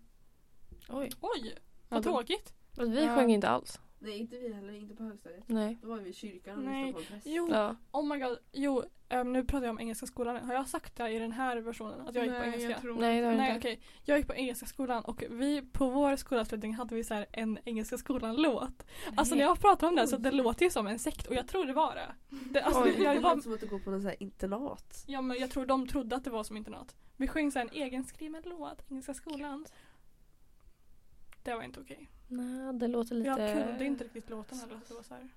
[SPEAKER 1] Alltså,
[SPEAKER 4] Oj.
[SPEAKER 2] Oj,
[SPEAKER 1] Ja,
[SPEAKER 2] vad
[SPEAKER 1] då-
[SPEAKER 2] tråkigt.
[SPEAKER 4] Alltså, Vi
[SPEAKER 1] Ja.
[SPEAKER 4] sjöng inte alls.
[SPEAKER 3] Nej inte vi heller, inte på högstadiet.
[SPEAKER 4] Nej.
[SPEAKER 3] Då var vi i kyrkan och
[SPEAKER 2] Nej.
[SPEAKER 3] lyssnade på en präst.
[SPEAKER 2] Jo,
[SPEAKER 4] Ja.
[SPEAKER 2] oh my god. Jo, ehm, nu pratar jag om engelska skolan. Har jag sagt det i den här versionen? Att jag gick på engelska?
[SPEAKER 1] tror
[SPEAKER 4] Nej det har jag
[SPEAKER 2] Nej
[SPEAKER 4] inte.
[SPEAKER 2] okej, jag gick på Engelska skolan och vi på vår skolavslutning hade vi så här en Engelska skolan-låt. Alltså när jag pratar om den så det låter ju som en sekt och jag tror det var det. det alltså,
[SPEAKER 4] Oj.
[SPEAKER 2] jag,
[SPEAKER 3] det
[SPEAKER 2] var,
[SPEAKER 3] låter som att du går på något så här internat.
[SPEAKER 2] ja, men jag tror de trodde att det var som internat. Vi sjöng så här en egenskriven låt, Engelska skolan. Det var inte okej.
[SPEAKER 4] Nej det låter lite...
[SPEAKER 2] Jag kunde inte riktigt låten heller. så Det var så här.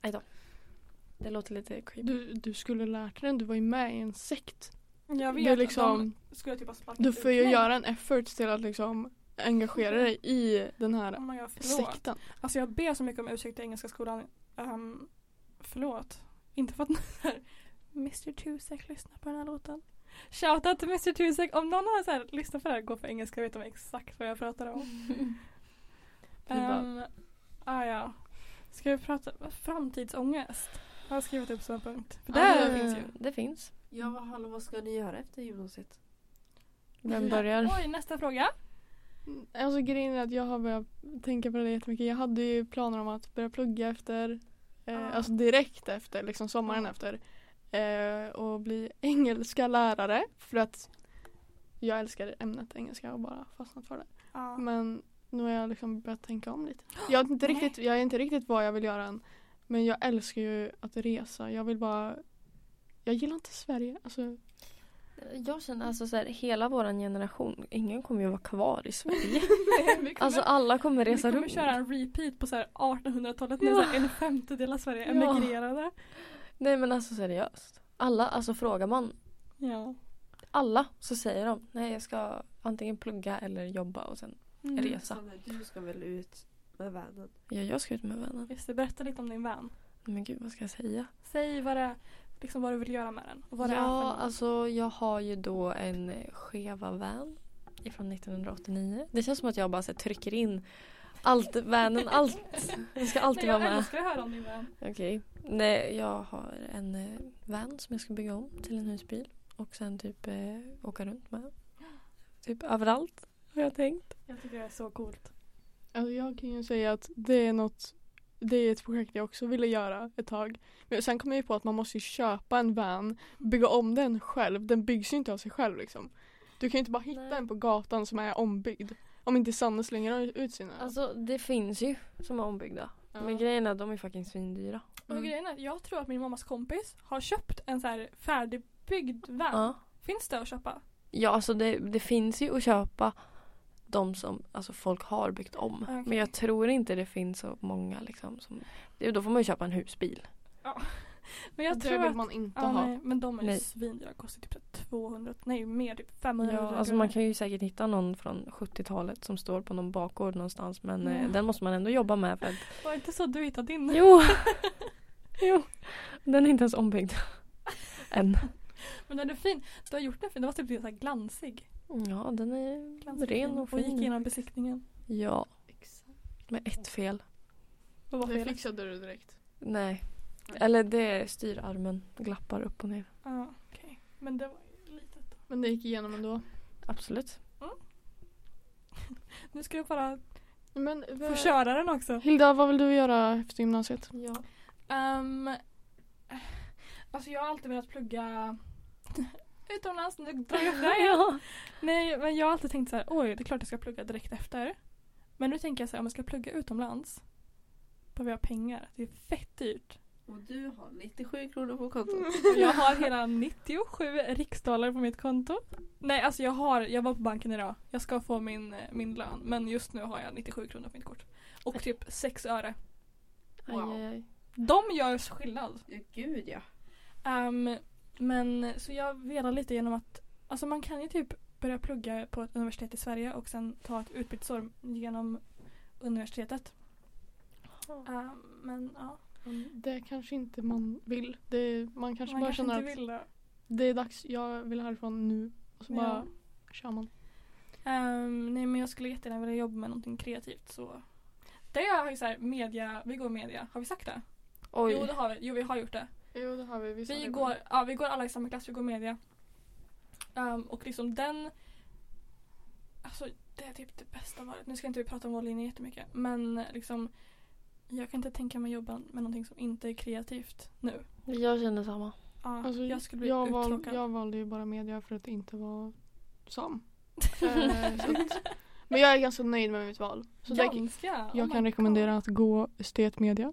[SPEAKER 4] Aj då. Det låter lite creepy.
[SPEAKER 1] Du, du skulle lärt dig den, du var ju med i en sekt.
[SPEAKER 2] Jag
[SPEAKER 1] Du,
[SPEAKER 2] vet,
[SPEAKER 1] liksom,
[SPEAKER 2] de skulle typ ha sparkat
[SPEAKER 1] du får ju
[SPEAKER 2] ut mig.
[SPEAKER 1] göra en effort till att liksom engagera dig i den här
[SPEAKER 2] Oh my God, förlåt.
[SPEAKER 1] sekten.
[SPEAKER 2] Alltså jag ber så mycket om ursäkt i Engelska skolan. Ehm, förlåt. Inte för att Mr Tusek lyssnar på den här låten. Shoutout till Mr Tusek. Om någon har så här, lyssnat på det här gå på engelska vet de exakt vad jag pratar om. Um, ah, ja. Ska vi prata framtidsångest? Jag har skrivit upp som en punkt. För det
[SPEAKER 4] Ah, Ja,
[SPEAKER 2] finns ju.
[SPEAKER 4] Mm, Det finns.
[SPEAKER 3] Ja, vad, hallå, vad ska ni göra efter gymnasiet?
[SPEAKER 4] Vem börjar?
[SPEAKER 2] Oj, nästa fråga.
[SPEAKER 1] Mm, Alltså grejen är att jag har börjat tänka på det jättemycket. Jag hade ju planer om att börja plugga efter, eh,
[SPEAKER 2] Ah.
[SPEAKER 1] alltså direkt efter, liksom sommaren
[SPEAKER 2] Ah.
[SPEAKER 1] efter. Eh, och bli engelska lärare för att jag älskar ämnet engelska och bara fastnat för det.
[SPEAKER 2] Ja.
[SPEAKER 1] Men nu har jag liksom börjat tänka om lite. Jag vet inte
[SPEAKER 2] Nej.
[SPEAKER 1] riktigt, jag är inte riktigt vad jag vill göra än. Men jag älskar ju att resa. Jag vill bara jag gillar inte Sverige. Alltså,
[SPEAKER 4] Jag känner alltså så här, hela våran generation, ingen kommer ju vara kvar i Sverige.
[SPEAKER 2] vi kommer,
[SPEAKER 4] Alltså alla kommer
[SPEAKER 2] vi
[SPEAKER 4] resa
[SPEAKER 2] kommer
[SPEAKER 4] runt.
[SPEAKER 2] köra en repeat på så här 1800-talet när så här en femtedel av Sverige
[SPEAKER 4] Ja.
[SPEAKER 2] emigrerade.
[SPEAKER 4] Nej men alltså seriöst. Alla, alltså frågar man
[SPEAKER 2] Ja.
[SPEAKER 4] alla så säger de nej jag ska antingen plugga eller jobba och sen
[SPEAKER 2] Mm.
[SPEAKER 4] resa.
[SPEAKER 3] Sanna, du ska väl ut med vanen?
[SPEAKER 4] Ja jag ska ut med vännen.
[SPEAKER 2] Just det, berätta lite om din vän.
[SPEAKER 4] Men gud vad ska jag säga?
[SPEAKER 2] Säg vad det, liksom vad du vill göra med den. Och vad det är för
[SPEAKER 4] ja,
[SPEAKER 2] någon.
[SPEAKER 4] alltså jag har ju då en skeva van ifrån 1989. Det känns som att jag bara så här, trycker in allt, vanen, allt. Jag ska alltid
[SPEAKER 2] Nej, jag
[SPEAKER 4] vara med.
[SPEAKER 2] älskar att höra om din vän.
[SPEAKER 4] Okej. Nej, jag har en eh, van som jag ska bygga om till en husbil och sen typ eh, åka runt med. Typ överallt har jag tänkt.
[SPEAKER 2] Jag tycker det är så coolt.
[SPEAKER 1] Alltså jag kan ju säga att det är något det är ett projekt jag också ville göra ett tag. Men sen kom jag ju på att man måste ju köpa en van, bygga om den själv. Den byggs ju inte av sig själv liksom. Du kan ju inte bara hitta
[SPEAKER 4] Nej.
[SPEAKER 1] en på gatan som är ombyggd. Om inte Sanne slänger ut sina.
[SPEAKER 4] Alltså det finns ju som är ombyggda.
[SPEAKER 1] Ja.
[SPEAKER 4] Men grejen är att de är fucking svindyra.
[SPEAKER 2] Och grejen är att jag tror att min mammas kompis har köpt en så här färdigbyggd van.
[SPEAKER 4] Ja.
[SPEAKER 2] Finns det att köpa?
[SPEAKER 4] Ja, alltså det, det finns ju att köpa de som alltså folk har byggt om.
[SPEAKER 2] Okej.
[SPEAKER 4] Men jag tror inte det finns så många. Liksom, som, det- då får man ju köpa en husbil.
[SPEAKER 2] Men jag
[SPEAKER 1] det
[SPEAKER 2] tror
[SPEAKER 1] vill
[SPEAKER 2] att...
[SPEAKER 1] man inte
[SPEAKER 2] Ja,
[SPEAKER 1] ha.
[SPEAKER 2] nej, men de är ju
[SPEAKER 4] Nej.
[SPEAKER 2] svindyra. Kostar typ så här 200, nej mer typ 500
[SPEAKER 4] Ja, alltså man kan ju säkert hitta någon från 70-talet som står på någon bakgård någonstans. Men eh,
[SPEAKER 2] Mm.
[SPEAKER 4] den måste man ändå jobba med. För att,
[SPEAKER 2] Var det inte så du hittade din?
[SPEAKER 4] jo. jo! Den är inte ens ombyggd. Än.
[SPEAKER 2] Men den är fin. Du har gjort den fin. Den var typ lite så här glansig.
[SPEAKER 4] Ja, den är
[SPEAKER 2] glansig
[SPEAKER 4] ren och
[SPEAKER 2] Och gick
[SPEAKER 4] fin.
[SPEAKER 2] igenom besiktningen.
[SPEAKER 4] Ja, med ett fel.
[SPEAKER 2] Vad var
[SPEAKER 1] Det
[SPEAKER 2] felet?
[SPEAKER 1] fixade du direkt.
[SPEAKER 4] Nej. Eller det är styrarmen glappar upp och ner.
[SPEAKER 2] Ja, okej. Men det var ju litet.
[SPEAKER 1] Men det gick igenom ändå.
[SPEAKER 4] Absolut.
[SPEAKER 2] Nu ska jag bara
[SPEAKER 1] Men,
[SPEAKER 2] få köra den också.
[SPEAKER 1] Hilda, vad vill du göra efter gymnasiet?
[SPEAKER 4] Ja.
[SPEAKER 2] Um, alltså jag har alltid velat plugga utomlands. Nu drar jag upp det här igen. Nej men jag har alltid tänkt så här, oj det är klart jag ska plugga direkt efter. Men nu tänker jag så här, om jag ska plugga utomlands behöver jag pengar. Det är fett dyrt.
[SPEAKER 3] Och du har 97 kronor på kontot.
[SPEAKER 2] Och Jag har hela 97 riksdaler på mitt konto. Nej alltså jag har, jag var på banken idag. Jag ska få min, eh, min lön men just nu har jag 97 kronor på mitt kort. Och typ 6 öre.
[SPEAKER 4] Aj, aj, aj.
[SPEAKER 2] De gör skillnad.
[SPEAKER 3] Ja, gud ja.
[SPEAKER 2] Ehm, men så jag velar lite genom att alltså man kan ju typ börja plugga på ett universitet i Sverige och sen ta ett utbytesår genom universitetet. Ehm, men ja,
[SPEAKER 1] Det kanske inte man vill. Det, man kanske
[SPEAKER 2] Mm. man
[SPEAKER 1] bara
[SPEAKER 2] kanske
[SPEAKER 1] känner
[SPEAKER 2] inte
[SPEAKER 1] att
[SPEAKER 2] vill det.
[SPEAKER 1] det är dags, jag vill härifrån nu. Och så
[SPEAKER 2] Ja.
[SPEAKER 1] bara kör man.
[SPEAKER 2] Ehm, nej men jag skulle jättegärna vilja jobba med någonting kreativt så det har ju såhär media, vi går media, har vi sagt det?
[SPEAKER 4] Oj.
[SPEAKER 2] Jo det har vi, jo vi har gjort det.
[SPEAKER 1] Jo det har vi. Vi, sa
[SPEAKER 2] Vi
[SPEAKER 1] det
[SPEAKER 2] går, ja, vi går alla i samma klass, vi går media. Ehm, och liksom den... Alltså det är typ det bästa valet. Nu ska inte vi prata om vår linje jättemycket men liksom jag kan inte tänka mig jobba med någonting som inte är kreativt nu.
[SPEAKER 4] Jag känner samma.
[SPEAKER 2] Ja,
[SPEAKER 1] Alltså,
[SPEAKER 2] jag skulle bli
[SPEAKER 1] jag, val-
[SPEAKER 2] uttråkad.
[SPEAKER 1] jag valde ju bara media för att inte vara sam. Eh, så att, men jag är ganska nöjd med mitt val. Så det,
[SPEAKER 2] Ganska!
[SPEAKER 1] jag
[SPEAKER 2] oh
[SPEAKER 1] kan
[SPEAKER 2] my
[SPEAKER 1] rekommendera
[SPEAKER 2] God.
[SPEAKER 1] att gå estetmedia.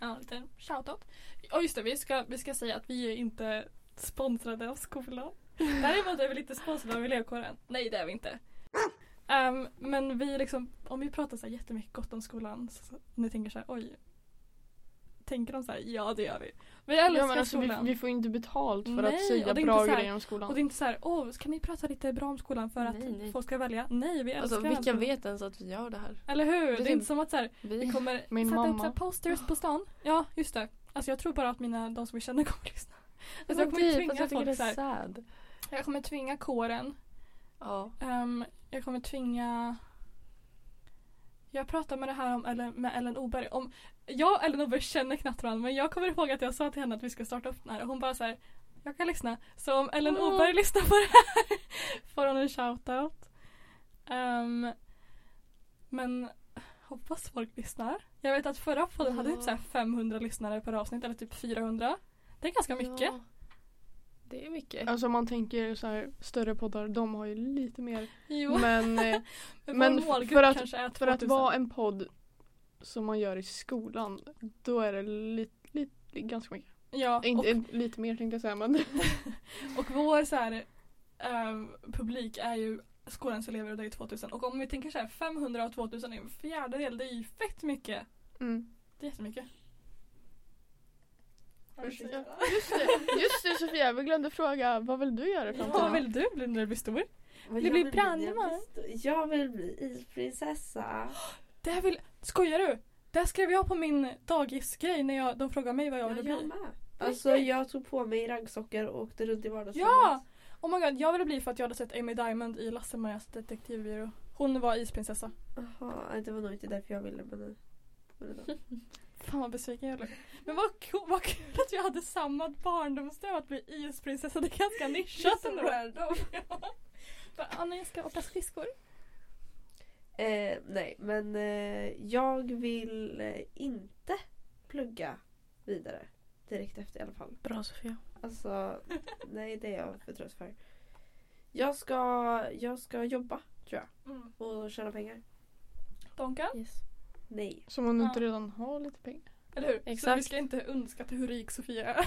[SPEAKER 2] Ja, lite shoutout. Och just det, vi ska, vi ska säga att vi är inte sponsrade av skolan. Däremot är vi lite sponsrade av elevkåren. Nej, det är vi inte. Ehm, men vi liksom, om vi pratar så här jättemycket gott om skolan så, så ni tänker så här, oj. tänker de så här, ja det gör vi. Vi älskar
[SPEAKER 1] ja, men alltså, vi,
[SPEAKER 2] skolan.
[SPEAKER 1] vi får inte betalt för att
[SPEAKER 2] Nej,
[SPEAKER 1] säga
[SPEAKER 2] och det är
[SPEAKER 1] bra
[SPEAKER 2] inte så här-
[SPEAKER 1] grejer om
[SPEAKER 2] Och
[SPEAKER 1] skolan.
[SPEAKER 2] det är inte så här, åh kan ni prata lite bra om skolan för att
[SPEAKER 4] Nej, nej.
[SPEAKER 2] folk ska välja? Nej, vi älskar
[SPEAKER 4] Alltså
[SPEAKER 2] den här
[SPEAKER 4] vilka
[SPEAKER 2] skolan.
[SPEAKER 4] vet ens att vi gör det här?
[SPEAKER 2] Eller hur? Det är
[SPEAKER 4] Precis.
[SPEAKER 2] inte som att så här, vi
[SPEAKER 4] Vi
[SPEAKER 2] kommer
[SPEAKER 1] Min
[SPEAKER 2] sätta upp
[SPEAKER 1] mamma.
[SPEAKER 2] så här posters på stan. Ja, just det. Alltså jag tror bara att mina, de som vi känner kommer lyssna. Alltså, jag
[SPEAKER 4] Men
[SPEAKER 2] kommer ju
[SPEAKER 4] typ,
[SPEAKER 2] tvinga
[SPEAKER 4] fast jag tycker
[SPEAKER 2] folk
[SPEAKER 4] det
[SPEAKER 2] så
[SPEAKER 4] är
[SPEAKER 2] här.
[SPEAKER 4] sad.
[SPEAKER 2] Jag kommer tvinga kåren.
[SPEAKER 4] Ja.
[SPEAKER 2] Ehm, jag kommer tvinga jag pratade med det här om Ellen, med Ellen Oberg. Om, jag och Ellen Oberg känner knappt varandra men jag kommer ihåg att jag sa till henne att vi ska starta upp den här och hon bara så här, jag kan lyssna. Så om Ellen
[SPEAKER 4] Mm.
[SPEAKER 2] Oberg lyssnar på det här får hon en shoutout. Ehm, men hoppas folk lyssnar. Jag vet att förra podden hade typ
[SPEAKER 4] Ja.
[SPEAKER 2] så här 500 lyssnare per avsnitt eller typ 400. Det är ganska mycket.
[SPEAKER 4] Ja. Det är mycket.
[SPEAKER 1] Alltså om man tänker så här, större poddar, de har ju lite mer.
[SPEAKER 2] Jo,
[SPEAKER 1] Men eh,
[SPEAKER 2] men,
[SPEAKER 1] men
[SPEAKER 2] vår
[SPEAKER 1] f-
[SPEAKER 2] målgrupp
[SPEAKER 1] för att-
[SPEAKER 2] kanske är 2000.
[SPEAKER 1] för att vara en podd som man gör i skolan, då är det lite, lite ganska mycket. Eh,
[SPEAKER 2] ja, och-
[SPEAKER 1] Inte, Lite mer tänkte jag säga men
[SPEAKER 2] Och vår så här, ehm, publik är ju skolans elever och det är 2000. Och om vi tänker så här 500 av 2000 är en fjärdedel. Det är ju fett mycket.
[SPEAKER 1] mm.
[SPEAKER 2] Det är jättemycket.
[SPEAKER 1] Ursäkta. Just det, just det Sofia, vi glömde fråga vad vill du göra i
[SPEAKER 2] Ja,
[SPEAKER 1] framtiden?
[SPEAKER 2] Vad vill du bli när du blir stor? Det blir brandman.
[SPEAKER 3] Jag vill bli isprinsessa.
[SPEAKER 2] Det här vill, skojar du? Det här skrev jag på min dagisgrej när jag, de frågade mig vad jag ville
[SPEAKER 3] jag
[SPEAKER 2] bli.
[SPEAKER 3] med. Alltså jag tog på mig raggsockor och åkte runt i vardagsrummet.
[SPEAKER 2] Ja! Oh my god, jag ville bli för att jag hade sett Amy Diamond i Lasse-Majas detektivbyrå. Hon var isprinsessa.
[SPEAKER 3] Jaha, nej, det var nog inte därför jag ville men... men ändå.
[SPEAKER 2] Fan vad besviken jag blev. Men vad, ko- vad kul att vi hade samma barndomsdröm att bli isprinsessa. Det är ganska nischat
[SPEAKER 3] Så
[SPEAKER 2] ändå.
[SPEAKER 3] random.
[SPEAKER 2] Bara, Anna jag ska åka skridskor.
[SPEAKER 3] Eh, nej men eh, jag vill eh, inte plugga vidare. Direkt efter i alla fall.
[SPEAKER 4] Bra Sofia.
[SPEAKER 3] Alltså nej det är jag för trött för. Jag ska, jag ska jobba
[SPEAKER 2] Mm.
[SPEAKER 3] och tjäna pengar.
[SPEAKER 2] Donkan,
[SPEAKER 4] Yes.
[SPEAKER 3] Nej.
[SPEAKER 1] Som hon inte
[SPEAKER 2] Ja.
[SPEAKER 1] redan har lite pengar.
[SPEAKER 2] eller hur? Så
[SPEAKER 4] Exakt.
[SPEAKER 2] vi ska inte underskatta hur rik Sofia är.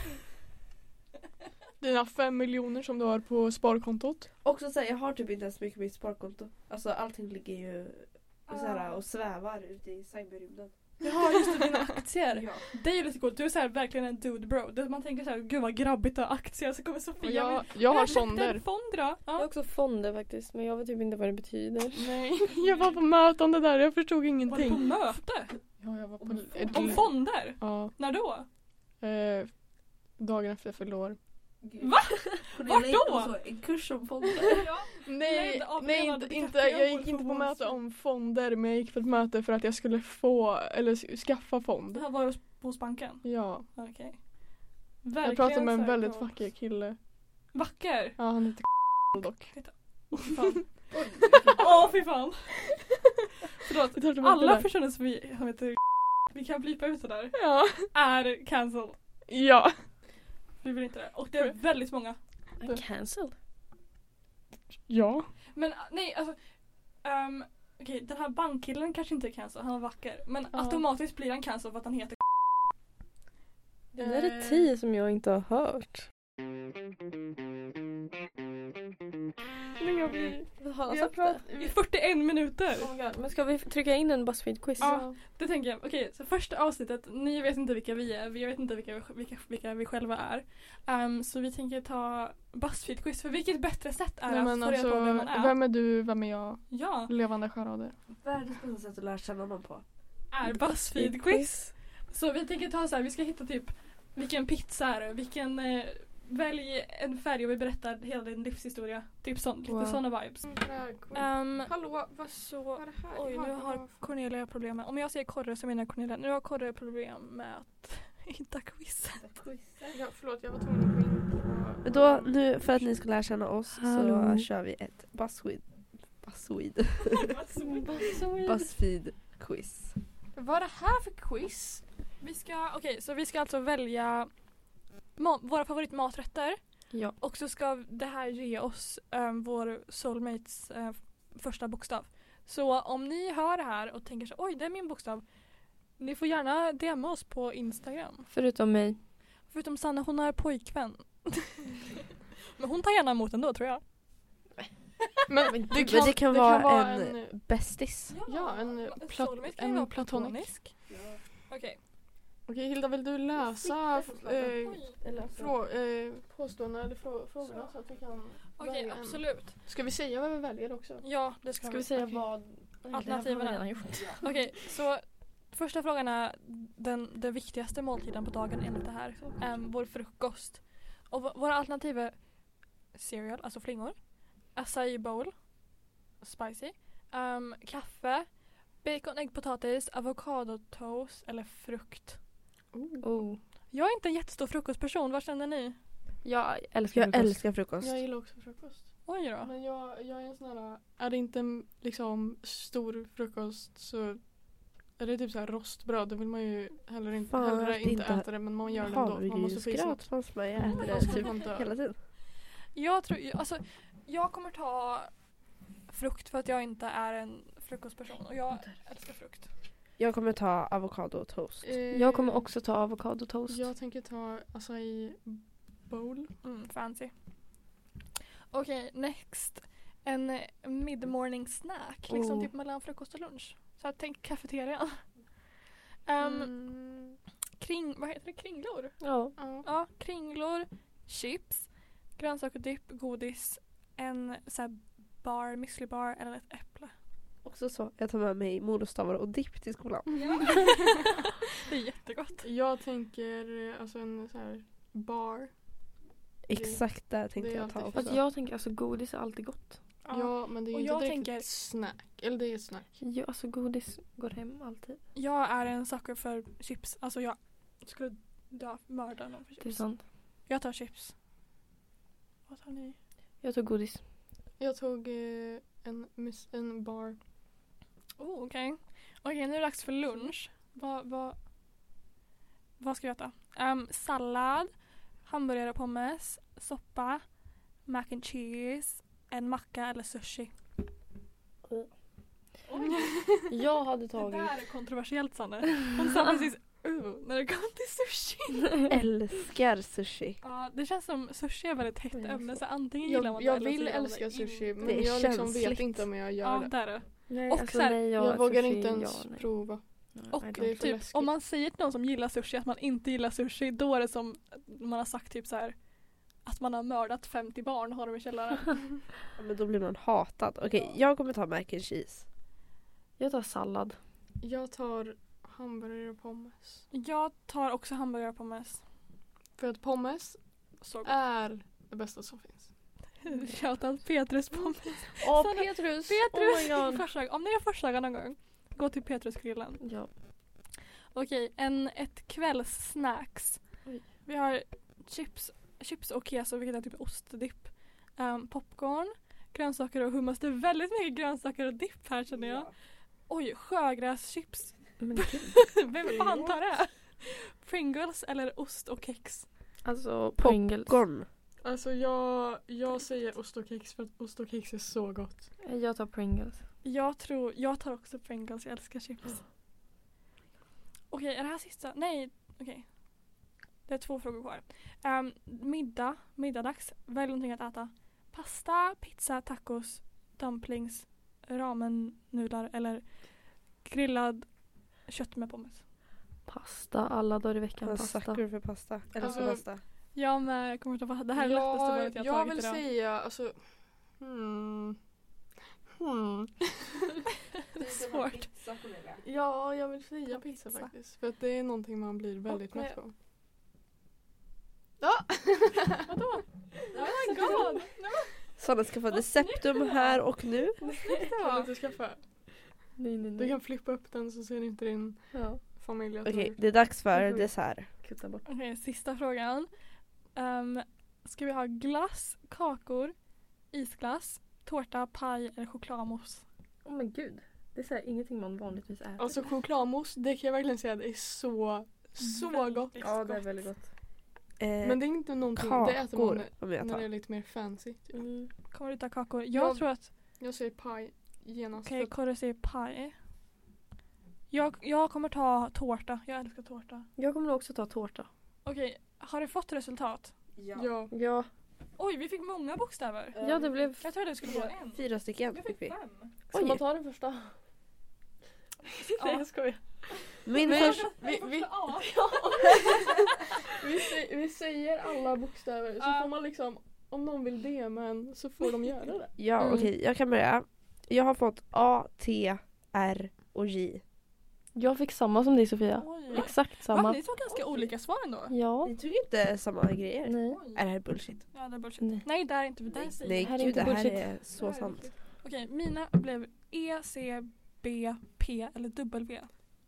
[SPEAKER 1] Dina fem miljoner som du har på sparkontot.
[SPEAKER 3] Också såhär jag har typ inte ens mycket på mitt sparkonto. Alltså allting ligger ju såhär, och svävar ute i cyberrymden.
[SPEAKER 2] Ja just det, dina aktier.
[SPEAKER 3] Ja.
[SPEAKER 2] Det är ju lite coolt, du är så här, verkligen en dude bro. Det- Man tänker så här, gud vad grabbigt att ha aktier. Så kommer Sofia
[SPEAKER 1] Och
[SPEAKER 2] med-
[SPEAKER 1] jag, jag har
[SPEAKER 2] "Vem köpte
[SPEAKER 1] sonder.
[SPEAKER 2] en fond då?
[SPEAKER 4] Jag har
[SPEAKER 2] Ja.
[SPEAKER 4] också fonder faktiskt men jag vet typ inte vad det betyder.
[SPEAKER 1] Nej, jag var på mötande där, jag förstod
[SPEAKER 2] Var du
[SPEAKER 1] ingenting. Mm.
[SPEAKER 2] på möte?
[SPEAKER 1] Ja, jag var på...
[SPEAKER 3] Om
[SPEAKER 1] ett-
[SPEAKER 2] Om fonder?
[SPEAKER 1] Ja,
[SPEAKER 2] När då?
[SPEAKER 1] eh, dagen efter jag fyllde år.
[SPEAKER 3] Gud.
[SPEAKER 2] Va?
[SPEAKER 3] Cornelia
[SPEAKER 2] Vart
[SPEAKER 3] gick på
[SPEAKER 2] då?
[SPEAKER 3] Så, en kurs om fonder.
[SPEAKER 1] Nej,
[SPEAKER 2] Led av
[SPEAKER 1] nej
[SPEAKER 2] Leonardo
[SPEAKER 1] inte, inte,
[SPEAKER 2] DiCaprio
[SPEAKER 1] jag
[SPEAKER 2] och
[SPEAKER 1] gick inte på
[SPEAKER 2] Wolf of Wall
[SPEAKER 1] möte
[SPEAKER 2] Street.
[SPEAKER 1] om fonder men jag gick på ett möte för att jag skulle få, eller s- skaffa
[SPEAKER 2] Det
[SPEAKER 1] fond.
[SPEAKER 2] här var hos, hos banken?
[SPEAKER 1] Ja,
[SPEAKER 2] Okej.
[SPEAKER 1] jag
[SPEAKER 2] Verkligen
[SPEAKER 1] pratade med
[SPEAKER 2] så
[SPEAKER 1] en
[SPEAKER 2] här
[SPEAKER 1] väldigt
[SPEAKER 2] bra.
[SPEAKER 1] vacker kille.
[SPEAKER 2] Vacker?
[SPEAKER 1] Ja, han heter dock.
[SPEAKER 2] Fan. Åh fy fan. Förlåt.
[SPEAKER 1] Jag tar tillbaka
[SPEAKER 2] Alla
[SPEAKER 1] det där.
[SPEAKER 2] personer som vi som heter vi kan blipa ut det där,
[SPEAKER 1] Ja.
[SPEAKER 2] är cancel.
[SPEAKER 1] Ja.
[SPEAKER 2] Vi vill inte det. Och det är väldigt många.
[SPEAKER 4] Cancel.
[SPEAKER 1] Ja.
[SPEAKER 2] Men ah, nej alltså. Um, Okej den här bankkillen kanske inte är cancel, han är vacker. Men
[SPEAKER 1] Ja.
[SPEAKER 2] automatiskt blir han cancel för att han heter
[SPEAKER 4] Det där
[SPEAKER 2] Eh.
[SPEAKER 4] är tio som jag inte har hört.
[SPEAKER 1] Men jag blir...
[SPEAKER 4] Vad har han
[SPEAKER 1] Vi har
[SPEAKER 4] sagt det?
[SPEAKER 1] pratat...
[SPEAKER 2] Eh, i 41 minuter.
[SPEAKER 4] Oh my God. Men ska vi trycka in en Buzzfeed-quiz?
[SPEAKER 2] Ja. Det tänker jag. Okej, så första avsnittet, ni vet inte vilka vi är, vi vet inte vilka, vi- vilka, vilka vi själva är. Ehm, så vi tänker ta Buzzfeed-quiz, för vilket bättre sätt är
[SPEAKER 1] Nej
[SPEAKER 2] att
[SPEAKER 1] men
[SPEAKER 2] få reda på
[SPEAKER 1] alltså,
[SPEAKER 2] vem man är?
[SPEAKER 1] vem är du, vem är jag?
[SPEAKER 2] Ja,
[SPEAKER 1] Levande charader.
[SPEAKER 3] Världens bästa sätt att lära känna någon på.
[SPEAKER 2] är Buzzfeed-quiz. Så vi tänker ta så här, vi ska hitta typ vilken pizza är det, vilken, eh, välj en färg och vi berättar hela din livshistoria. Typ sån,
[SPEAKER 4] Wow.
[SPEAKER 2] lite såna vibes. Ehm,
[SPEAKER 1] Hallå, vad så...
[SPEAKER 2] oj, nu har Cornelia problem med, om jag säger korre så menar jag Cornelia, nu har Korre problem med att hitta quiz.
[SPEAKER 1] Ja, förlåt, jag var tvungen att gå in
[SPEAKER 3] Men då nu för att ni ska lära känna oss
[SPEAKER 4] Hallå.
[SPEAKER 3] så kör vi ett buzzweed. Buzzweed. Buzzfeed quiz.
[SPEAKER 2] Vad är det här för quiz? Vi ska, okej, så vi ska alltså välja ma- våra favoritmaträtter
[SPEAKER 4] Ja.
[SPEAKER 2] och så ska det här ge oss um, vår soulmates eh, första bokstav. Så om ni hör det här och tänker så oj det är min bokstav. Ni får gärna DMa oss på Instagram.
[SPEAKER 4] Förutom mig.
[SPEAKER 2] Förutom Sanna, hon har pojkvän. Men hon tar gärna emot ändå tror jag.
[SPEAKER 1] Men
[SPEAKER 4] Men
[SPEAKER 1] det
[SPEAKER 3] gud,
[SPEAKER 1] kan,
[SPEAKER 3] det kan vara en- Bästis.
[SPEAKER 1] Ja, en plat-
[SPEAKER 2] soulmate kan ju
[SPEAKER 1] en
[SPEAKER 2] vara
[SPEAKER 1] platonic.
[SPEAKER 2] platonisk. Okej.
[SPEAKER 1] Okej Hilda, vill du läsa
[SPEAKER 3] Sitter-
[SPEAKER 1] eh,
[SPEAKER 3] Eller alltså,
[SPEAKER 1] frå, eh, påståendena eller frå, frågorna så att vi kan
[SPEAKER 2] Okej,
[SPEAKER 1] välja en?
[SPEAKER 2] absolut.
[SPEAKER 1] Ska vi säga vad vi väljer också?
[SPEAKER 2] Ja, det ska,
[SPEAKER 1] Ska vi säga
[SPEAKER 2] Okej.
[SPEAKER 1] vad?
[SPEAKER 2] Alternativen
[SPEAKER 4] Det
[SPEAKER 2] är.
[SPEAKER 4] här har vi redan gjort.
[SPEAKER 2] Okej, så första frågan är den, den viktigaste måltiden på dagen enligt det här. Um, vår frukost. Och v- våra alternativ är cereal, alltså flingor, acai bowl, spicy, ehm, kaffe, bacon, ägg, potatis, avokadotoast eller frukt.
[SPEAKER 4] Oh.
[SPEAKER 2] Jag är inte en jättestor frukostperson, vad känner ni?
[SPEAKER 4] Jag älskar
[SPEAKER 3] Jag
[SPEAKER 4] frukost.
[SPEAKER 3] älskar frukost.
[SPEAKER 1] Jag gillar också frukost.
[SPEAKER 2] Oj då.
[SPEAKER 1] Men jag, jag är en sån här, är det inte en, liksom stor frukost så är det typ så här rostbröd, då vill man ju heller inte,
[SPEAKER 3] Fan,
[SPEAKER 1] hellre
[SPEAKER 3] att
[SPEAKER 1] inte,
[SPEAKER 3] inte ha-
[SPEAKER 1] äta det men man gör det ändå. Man måste få i sig något. Alltså.
[SPEAKER 3] Havregrynsgröt, fanns med. Jag äter
[SPEAKER 1] Man
[SPEAKER 3] det
[SPEAKER 1] måste
[SPEAKER 3] typ
[SPEAKER 1] få en dö.
[SPEAKER 3] hela tiden.
[SPEAKER 2] Jag tror, alltså jag kommer ta frukt för att jag inte är en frukostperson och jag älskar frukt.
[SPEAKER 3] Jag kommer ta avokado och toast.
[SPEAKER 1] Eh,
[SPEAKER 4] Jag kommer också ta avokadotoast.
[SPEAKER 1] Jag tänker ta acai bowl.
[SPEAKER 2] Mm, fancy. Okej, next. En eh, mid-morning snack, liksom
[SPEAKER 4] Oh.
[SPEAKER 2] typ mellan frukost och lunch. Så jag tänk kafeterian. Ehm,
[SPEAKER 1] Mm,
[SPEAKER 2] Kring, vad heter det, kringlor?
[SPEAKER 4] Ja.
[SPEAKER 1] ja.
[SPEAKER 2] Ja, kringlor, chips, grönsaker, dipp, godis, en så här bar, müsli bar eller ett äpple.
[SPEAKER 3] Också så, jag tar med mig morotsstavar och dipp till skolan.
[SPEAKER 1] Mm.
[SPEAKER 2] det är jättegott.
[SPEAKER 1] Jag tänker eh, alltså en så här bar.
[SPEAKER 3] Exakt där tänkte
[SPEAKER 1] det är
[SPEAKER 3] jag ta
[SPEAKER 1] alltid
[SPEAKER 3] också.
[SPEAKER 4] Fast jag tänker alltså godis är alltid gott.
[SPEAKER 1] Ja,
[SPEAKER 2] Ja.
[SPEAKER 1] men det är ju
[SPEAKER 2] Och
[SPEAKER 1] inte
[SPEAKER 2] jag
[SPEAKER 1] direkt
[SPEAKER 2] tänker-
[SPEAKER 1] ett snack. Eller det är ett snack.
[SPEAKER 4] Ja, alltså godis går hem alltid.
[SPEAKER 2] Jag är en sucker för chips, alltså jag skulle dö, mörda någon för
[SPEAKER 4] Det är
[SPEAKER 2] chips.
[SPEAKER 4] sant.
[SPEAKER 2] Jag tar chips. Vad tar ni?
[SPEAKER 4] Jag tog godis.
[SPEAKER 1] Jag tog eh, en, mus- en bar.
[SPEAKER 2] Oh, okej. Okej, nu är det dags för lunch. Vad, vad, vad ska vi äta? Ehm, sallad, hamburgare och pommes, soppa, mac and cheese, en macka eller sushi.
[SPEAKER 4] Jag hade
[SPEAKER 2] Det
[SPEAKER 4] tagit...
[SPEAKER 2] där är kontroversiellt Sanne. Hon sa precis uh, när det kom till sushi.
[SPEAKER 3] Älskar sushi.
[SPEAKER 2] ja, det känns som sushi är väldigt hett
[SPEAKER 4] Oj,
[SPEAKER 2] ämne så antingen gillar
[SPEAKER 1] Jag,
[SPEAKER 2] man
[SPEAKER 1] jag
[SPEAKER 2] det eller så
[SPEAKER 1] vill
[SPEAKER 2] gillar man det
[SPEAKER 1] älska sushi
[SPEAKER 2] inte.
[SPEAKER 1] men
[SPEAKER 3] Det är
[SPEAKER 1] jag liksom
[SPEAKER 3] känsligt.
[SPEAKER 1] vet inte om jag gör
[SPEAKER 2] Ja,
[SPEAKER 1] det.
[SPEAKER 2] där är det.
[SPEAKER 4] Nej,
[SPEAKER 2] Och
[SPEAKER 4] alltså,
[SPEAKER 2] så här,
[SPEAKER 4] nej,
[SPEAKER 1] Jag,
[SPEAKER 4] jag,
[SPEAKER 1] vågar
[SPEAKER 4] sushi,
[SPEAKER 1] inte ens
[SPEAKER 4] ja, nej.
[SPEAKER 1] prova.
[SPEAKER 4] Nej,
[SPEAKER 2] Och
[SPEAKER 4] I
[SPEAKER 1] det är
[SPEAKER 4] don't.
[SPEAKER 1] för
[SPEAKER 2] typ,
[SPEAKER 1] läskigt.
[SPEAKER 2] om man säger till någon som gillar sushi att man inte gillar sushi då är det som man har sagt typ så här att man har mördat 50 barn och har dem i källaren.
[SPEAKER 3] Ja, men då blir man hatad. Okej, jag kommer ta mac and cheese.
[SPEAKER 4] Jag tar sallad.
[SPEAKER 1] Jag tar hamburgare och pommes.
[SPEAKER 2] Jag tar också hamburgare och pommes.
[SPEAKER 1] För att pommes
[SPEAKER 2] Så gott.
[SPEAKER 1] är det bästa som finns.
[SPEAKER 2] Shoutout Petrus pommes.
[SPEAKER 4] Åh,
[SPEAKER 2] Sanna,
[SPEAKER 4] Petrus!
[SPEAKER 2] Mm. Petrus!
[SPEAKER 4] Oh my god.
[SPEAKER 2] Förslag, om ni har förslag någon gång, gå till Petrusgrillen.
[SPEAKER 4] Ja.
[SPEAKER 2] Okej, en, ett kvällssnacks.
[SPEAKER 4] Oj.
[SPEAKER 2] Vi har chips, chips och keso vilket är typ ostdipp. Ehm, popcorn, grönsaker och hummus. Det är väldigt mycket grönsaker och dipp här känner jag. Oj, sjögräschips.
[SPEAKER 4] Men gud.
[SPEAKER 2] Vem fan tar det? Pringles eller ost och kex?
[SPEAKER 4] Alltså Pringles.
[SPEAKER 3] Gon.
[SPEAKER 1] Alltså jag, jag säger ost och kex för att ost och kex är så gott.
[SPEAKER 4] Jag tar Pringles.
[SPEAKER 2] Jag tror, jag tar också Pringles, jag älskar chips. Okej, är det här sista? Nej, okej. Det är två frågor kvar. Ehm, middag, middagdags, välj någonting att äta. Pasta, pizza, tacos, dumplings, ramen-nudlar eller grillad kött med pommes.
[SPEAKER 4] Pasta alla dagar i veckan.
[SPEAKER 3] Jag
[SPEAKER 4] Pasta.
[SPEAKER 3] sucker för pasta. Älskar
[SPEAKER 1] Alltså-
[SPEAKER 3] pasta.
[SPEAKER 2] Jag med, jag kommer ta på det här är
[SPEAKER 1] jag,
[SPEAKER 2] lättaste valet jag,
[SPEAKER 1] jag
[SPEAKER 2] tagit
[SPEAKER 1] vill
[SPEAKER 2] idag.
[SPEAKER 1] säga alltså hmm. Hmm.
[SPEAKER 2] Svårt.
[SPEAKER 1] Ja, jag vill säga
[SPEAKER 2] Ta
[SPEAKER 1] pizza,
[SPEAKER 2] pizza.
[SPEAKER 1] faktiskt. För att det är någonting man blir väldigt
[SPEAKER 2] Okej.
[SPEAKER 1] mätt på. Ja!
[SPEAKER 2] Vadå? Oh my god!
[SPEAKER 3] Sanna skaffade septum här och nu.
[SPEAKER 1] Kan du, inte skaffa?
[SPEAKER 4] Nej, nej,
[SPEAKER 1] du
[SPEAKER 4] nej.
[SPEAKER 1] kan flippa upp den så ser inte din
[SPEAKER 4] Ja.
[SPEAKER 1] familj att
[SPEAKER 3] Okej,
[SPEAKER 1] du har gjort
[SPEAKER 3] det är dags för dessert.
[SPEAKER 4] Kutta bort.
[SPEAKER 2] Okej, sista frågan. Um, ska vi ha glass, kakor, isglass, tårta, paj eller chokladmousse?
[SPEAKER 4] Oh men gud. Det är så här, ingenting man vanligtvis äter.
[SPEAKER 1] Alltså chokladmousse, det kan jag verkligen säga det är så, så
[SPEAKER 2] Väldigt
[SPEAKER 1] gott.
[SPEAKER 4] ja det är väldigt gott.
[SPEAKER 3] Eh,
[SPEAKER 1] Men det är inte någonting, det äter man
[SPEAKER 3] kakor
[SPEAKER 1] när,
[SPEAKER 3] kommer jag
[SPEAKER 1] när det är
[SPEAKER 3] ta.
[SPEAKER 1] lite mer fancy. Typ.
[SPEAKER 4] Mm.
[SPEAKER 2] Kommer du ta kakor? Jag
[SPEAKER 1] Jag-
[SPEAKER 2] tror att,
[SPEAKER 1] Jag säger paj genast.
[SPEAKER 2] okej
[SPEAKER 1] för
[SPEAKER 2] okay, Korre säger paj. Jag, jag kommer ta tårta, jag älskar tårta.
[SPEAKER 4] Jag kommer nog också ta tårta.
[SPEAKER 2] Okej, har du fått resultat?
[SPEAKER 1] att- Ja.
[SPEAKER 4] Ja.
[SPEAKER 2] Oj, vi fick många bokstäver.
[SPEAKER 4] Ja det blev...
[SPEAKER 2] Jag trodde det skulle vara en.
[SPEAKER 3] Fyra stycken
[SPEAKER 2] Jag
[SPEAKER 3] fick
[SPEAKER 2] fick
[SPEAKER 3] vi.
[SPEAKER 2] fem.
[SPEAKER 4] Ska man ta den första? Nej jag skojar.
[SPEAKER 3] Min
[SPEAKER 4] Men-
[SPEAKER 3] första...
[SPEAKER 1] Vi, vi,
[SPEAKER 2] Ja.
[SPEAKER 1] vi, sä- vi säger alla bokstäver så
[SPEAKER 2] Ja.
[SPEAKER 1] får man liksom om någon vill det men så får de göra det.
[SPEAKER 3] Ja
[SPEAKER 4] Mm.
[SPEAKER 3] okej, jag kan börja. Jag har fått A, T, R och J.
[SPEAKER 4] Jag fick samma som dig Sofia.
[SPEAKER 2] Oj.
[SPEAKER 4] Exakt
[SPEAKER 2] Va?
[SPEAKER 4] samma.
[SPEAKER 2] Ni tog ganska olika svar ändå.
[SPEAKER 4] Ja.
[SPEAKER 3] Ni tog inte samma grejer.
[SPEAKER 4] Nej.
[SPEAKER 2] Oj.
[SPEAKER 3] Är det här bullshit?
[SPEAKER 2] Ja, det är bullshit.
[SPEAKER 4] Nej.
[SPEAKER 2] Nej, det är inte det. Där säger
[SPEAKER 3] Nej
[SPEAKER 4] här är
[SPEAKER 3] gud
[SPEAKER 4] inte
[SPEAKER 3] det här
[SPEAKER 4] bullshit.
[SPEAKER 3] är så
[SPEAKER 2] Nej, det är
[SPEAKER 3] sant.
[SPEAKER 2] bullshit. Okej, mina blev E, C, B, P eller W.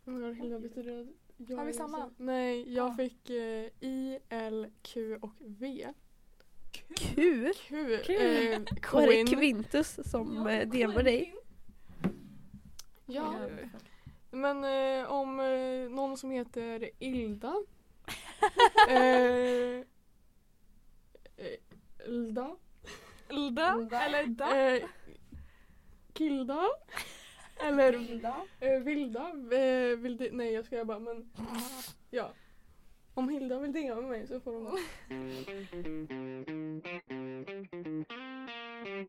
[SPEAKER 1] Men Hilda, betyder det att jag
[SPEAKER 2] Har vi
[SPEAKER 1] är
[SPEAKER 2] samma?
[SPEAKER 1] ensam? Nej, jag
[SPEAKER 2] Ah.
[SPEAKER 1] fick eh, I, L, Q och V.
[SPEAKER 3] Q?
[SPEAKER 1] Q.
[SPEAKER 4] Q.
[SPEAKER 1] Eh,
[SPEAKER 3] Var det
[SPEAKER 1] Queen.
[SPEAKER 3] Quintus som eh, DMade dig?
[SPEAKER 1] Ja. Men eh, om eh, någon som heter Ilda. eh, eh, Ilda.
[SPEAKER 2] Lda eller da.
[SPEAKER 1] Eh, Kilda. Eller eh, Vilda. Eh, vill det- nej jag skojar bara men ja. Om Hilda vill dinga med mig så får hon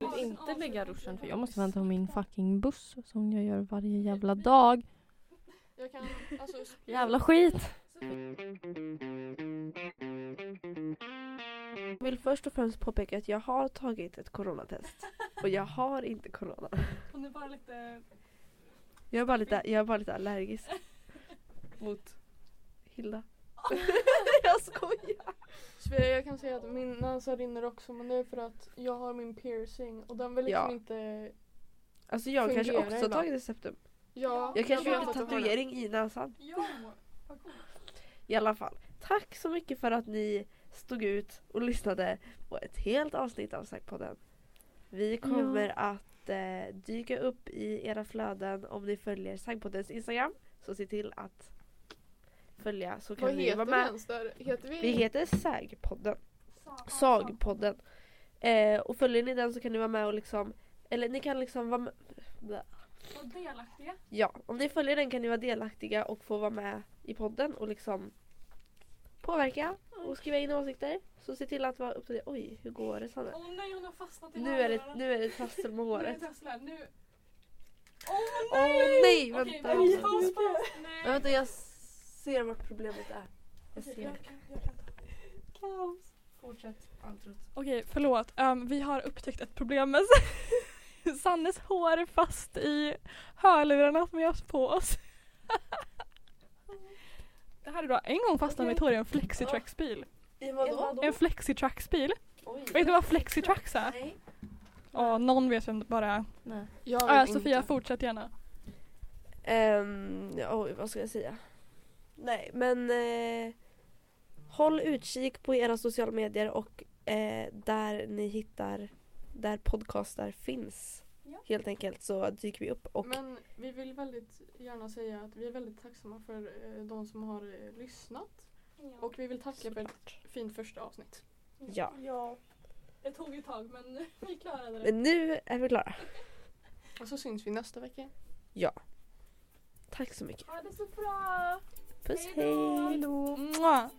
[SPEAKER 4] Jag vill inte lägga ruschen för jag måste vänta på min fucking buss som jag gör varje jävla dag.
[SPEAKER 1] Jag kan alltså
[SPEAKER 4] Jävla skit.
[SPEAKER 3] Jag vill först och främst påpeka att jag har tagit ett coronatest. Och jag har inte corona.
[SPEAKER 2] Hon är bara lite...
[SPEAKER 3] Jag är bara lite, jag är bara lite allergisk. Mot Hilda. jag skojar!
[SPEAKER 1] Svea, jag kan säga att min näsa rinner också men det är för att jag har min piercing och den vill liksom
[SPEAKER 3] Ja.
[SPEAKER 1] inte...
[SPEAKER 3] Alltså jag kanske
[SPEAKER 1] Fungerar
[SPEAKER 3] också
[SPEAKER 1] ibland.
[SPEAKER 3] tagit ett septum.
[SPEAKER 1] Ja,
[SPEAKER 3] Jag kanske
[SPEAKER 1] vet
[SPEAKER 3] gjorde
[SPEAKER 1] att du har det.
[SPEAKER 3] tatuering i näsan.
[SPEAKER 2] Ja, vad coolt.
[SPEAKER 3] I alla fall. Tack så mycket för att ni stod ut och lyssnade på ett helt avsnitt av Sackpodden. Vi kommer att eh, dyka upp i era flöden om ni följer Sackpoddens Instagram. Så se till att följa så kan
[SPEAKER 1] Vad
[SPEAKER 3] ni
[SPEAKER 1] heter
[SPEAKER 3] vara
[SPEAKER 1] vi
[SPEAKER 3] med.
[SPEAKER 1] ens där? Heter vi...
[SPEAKER 3] Vi heter Sagpodden. Sagpodden. Eh, och följer ni den så kan ni vara med och liksom eller ni kan liksom vara med.
[SPEAKER 2] Och delaktiga.
[SPEAKER 3] Ja, om ni följer den kan ni vara delaktiga och få vara med i podden och liksom påverka och skriva in åsikter. Så se till att vara uppdaterad. Oj, hur går det Sanne?
[SPEAKER 2] Åh nej, hon har fastnat i
[SPEAKER 3] Nu är det,
[SPEAKER 2] hörlurarna.
[SPEAKER 3] nu är det trassel med
[SPEAKER 2] Nu är
[SPEAKER 3] håret.
[SPEAKER 2] det trasslar. Nu... Åh
[SPEAKER 3] Åh
[SPEAKER 2] nej!
[SPEAKER 3] nej,
[SPEAKER 2] Okej,
[SPEAKER 3] vänta.
[SPEAKER 2] paus, paus, paus. Nej.
[SPEAKER 3] Vänta, jag ser vart problemet är. Jag
[SPEAKER 2] Okej,
[SPEAKER 3] ser.
[SPEAKER 2] jag kan- jag kan ta. Kaos.
[SPEAKER 3] Fortsätt antrot.
[SPEAKER 2] Okej, förlåt. Ehm, vi har upptäckt ett problem med Sannes hår är fast i hörlurarna som vi har haft på oss. Det här är bra. En gång fastnade mitt hår i en flexitracksbil.
[SPEAKER 3] I vadå?
[SPEAKER 2] En flexitracksbil.
[SPEAKER 3] Oj.
[SPEAKER 2] Vet du vad flexitracks är?
[SPEAKER 3] Nej.
[SPEAKER 2] Ja, någon vet vem det bara är.
[SPEAKER 4] Nej.
[SPEAKER 1] Jag
[SPEAKER 2] Ja,
[SPEAKER 1] vet
[SPEAKER 2] Sofia,
[SPEAKER 1] inte.
[SPEAKER 2] fortsätt gärna.
[SPEAKER 3] Ehm, ja, oj, vad ska jag säga? Nej, men eh, håll utkik på era sociala medier och eh, där ni hittar, där podcastar finns.
[SPEAKER 2] Ja.
[SPEAKER 3] Helt enkelt så dyker vi upp och
[SPEAKER 1] Men vi vill väldigt gärna säga att vi är väldigt tacksamma för eh, de som har eh, lyssnat och vi vill tacka för ett fint första avsnitt.
[SPEAKER 3] ja.
[SPEAKER 2] ja. Det tog ett tag men vi klarade det.
[SPEAKER 3] Men nu är vi klara.
[SPEAKER 1] Och så syns vi nästa vecka.
[SPEAKER 3] Tack så mycket.
[SPEAKER 2] Ha det så bra!
[SPEAKER 3] Puss,
[SPEAKER 2] Hej då.
[SPEAKER 3] hej!
[SPEAKER 2] Mua.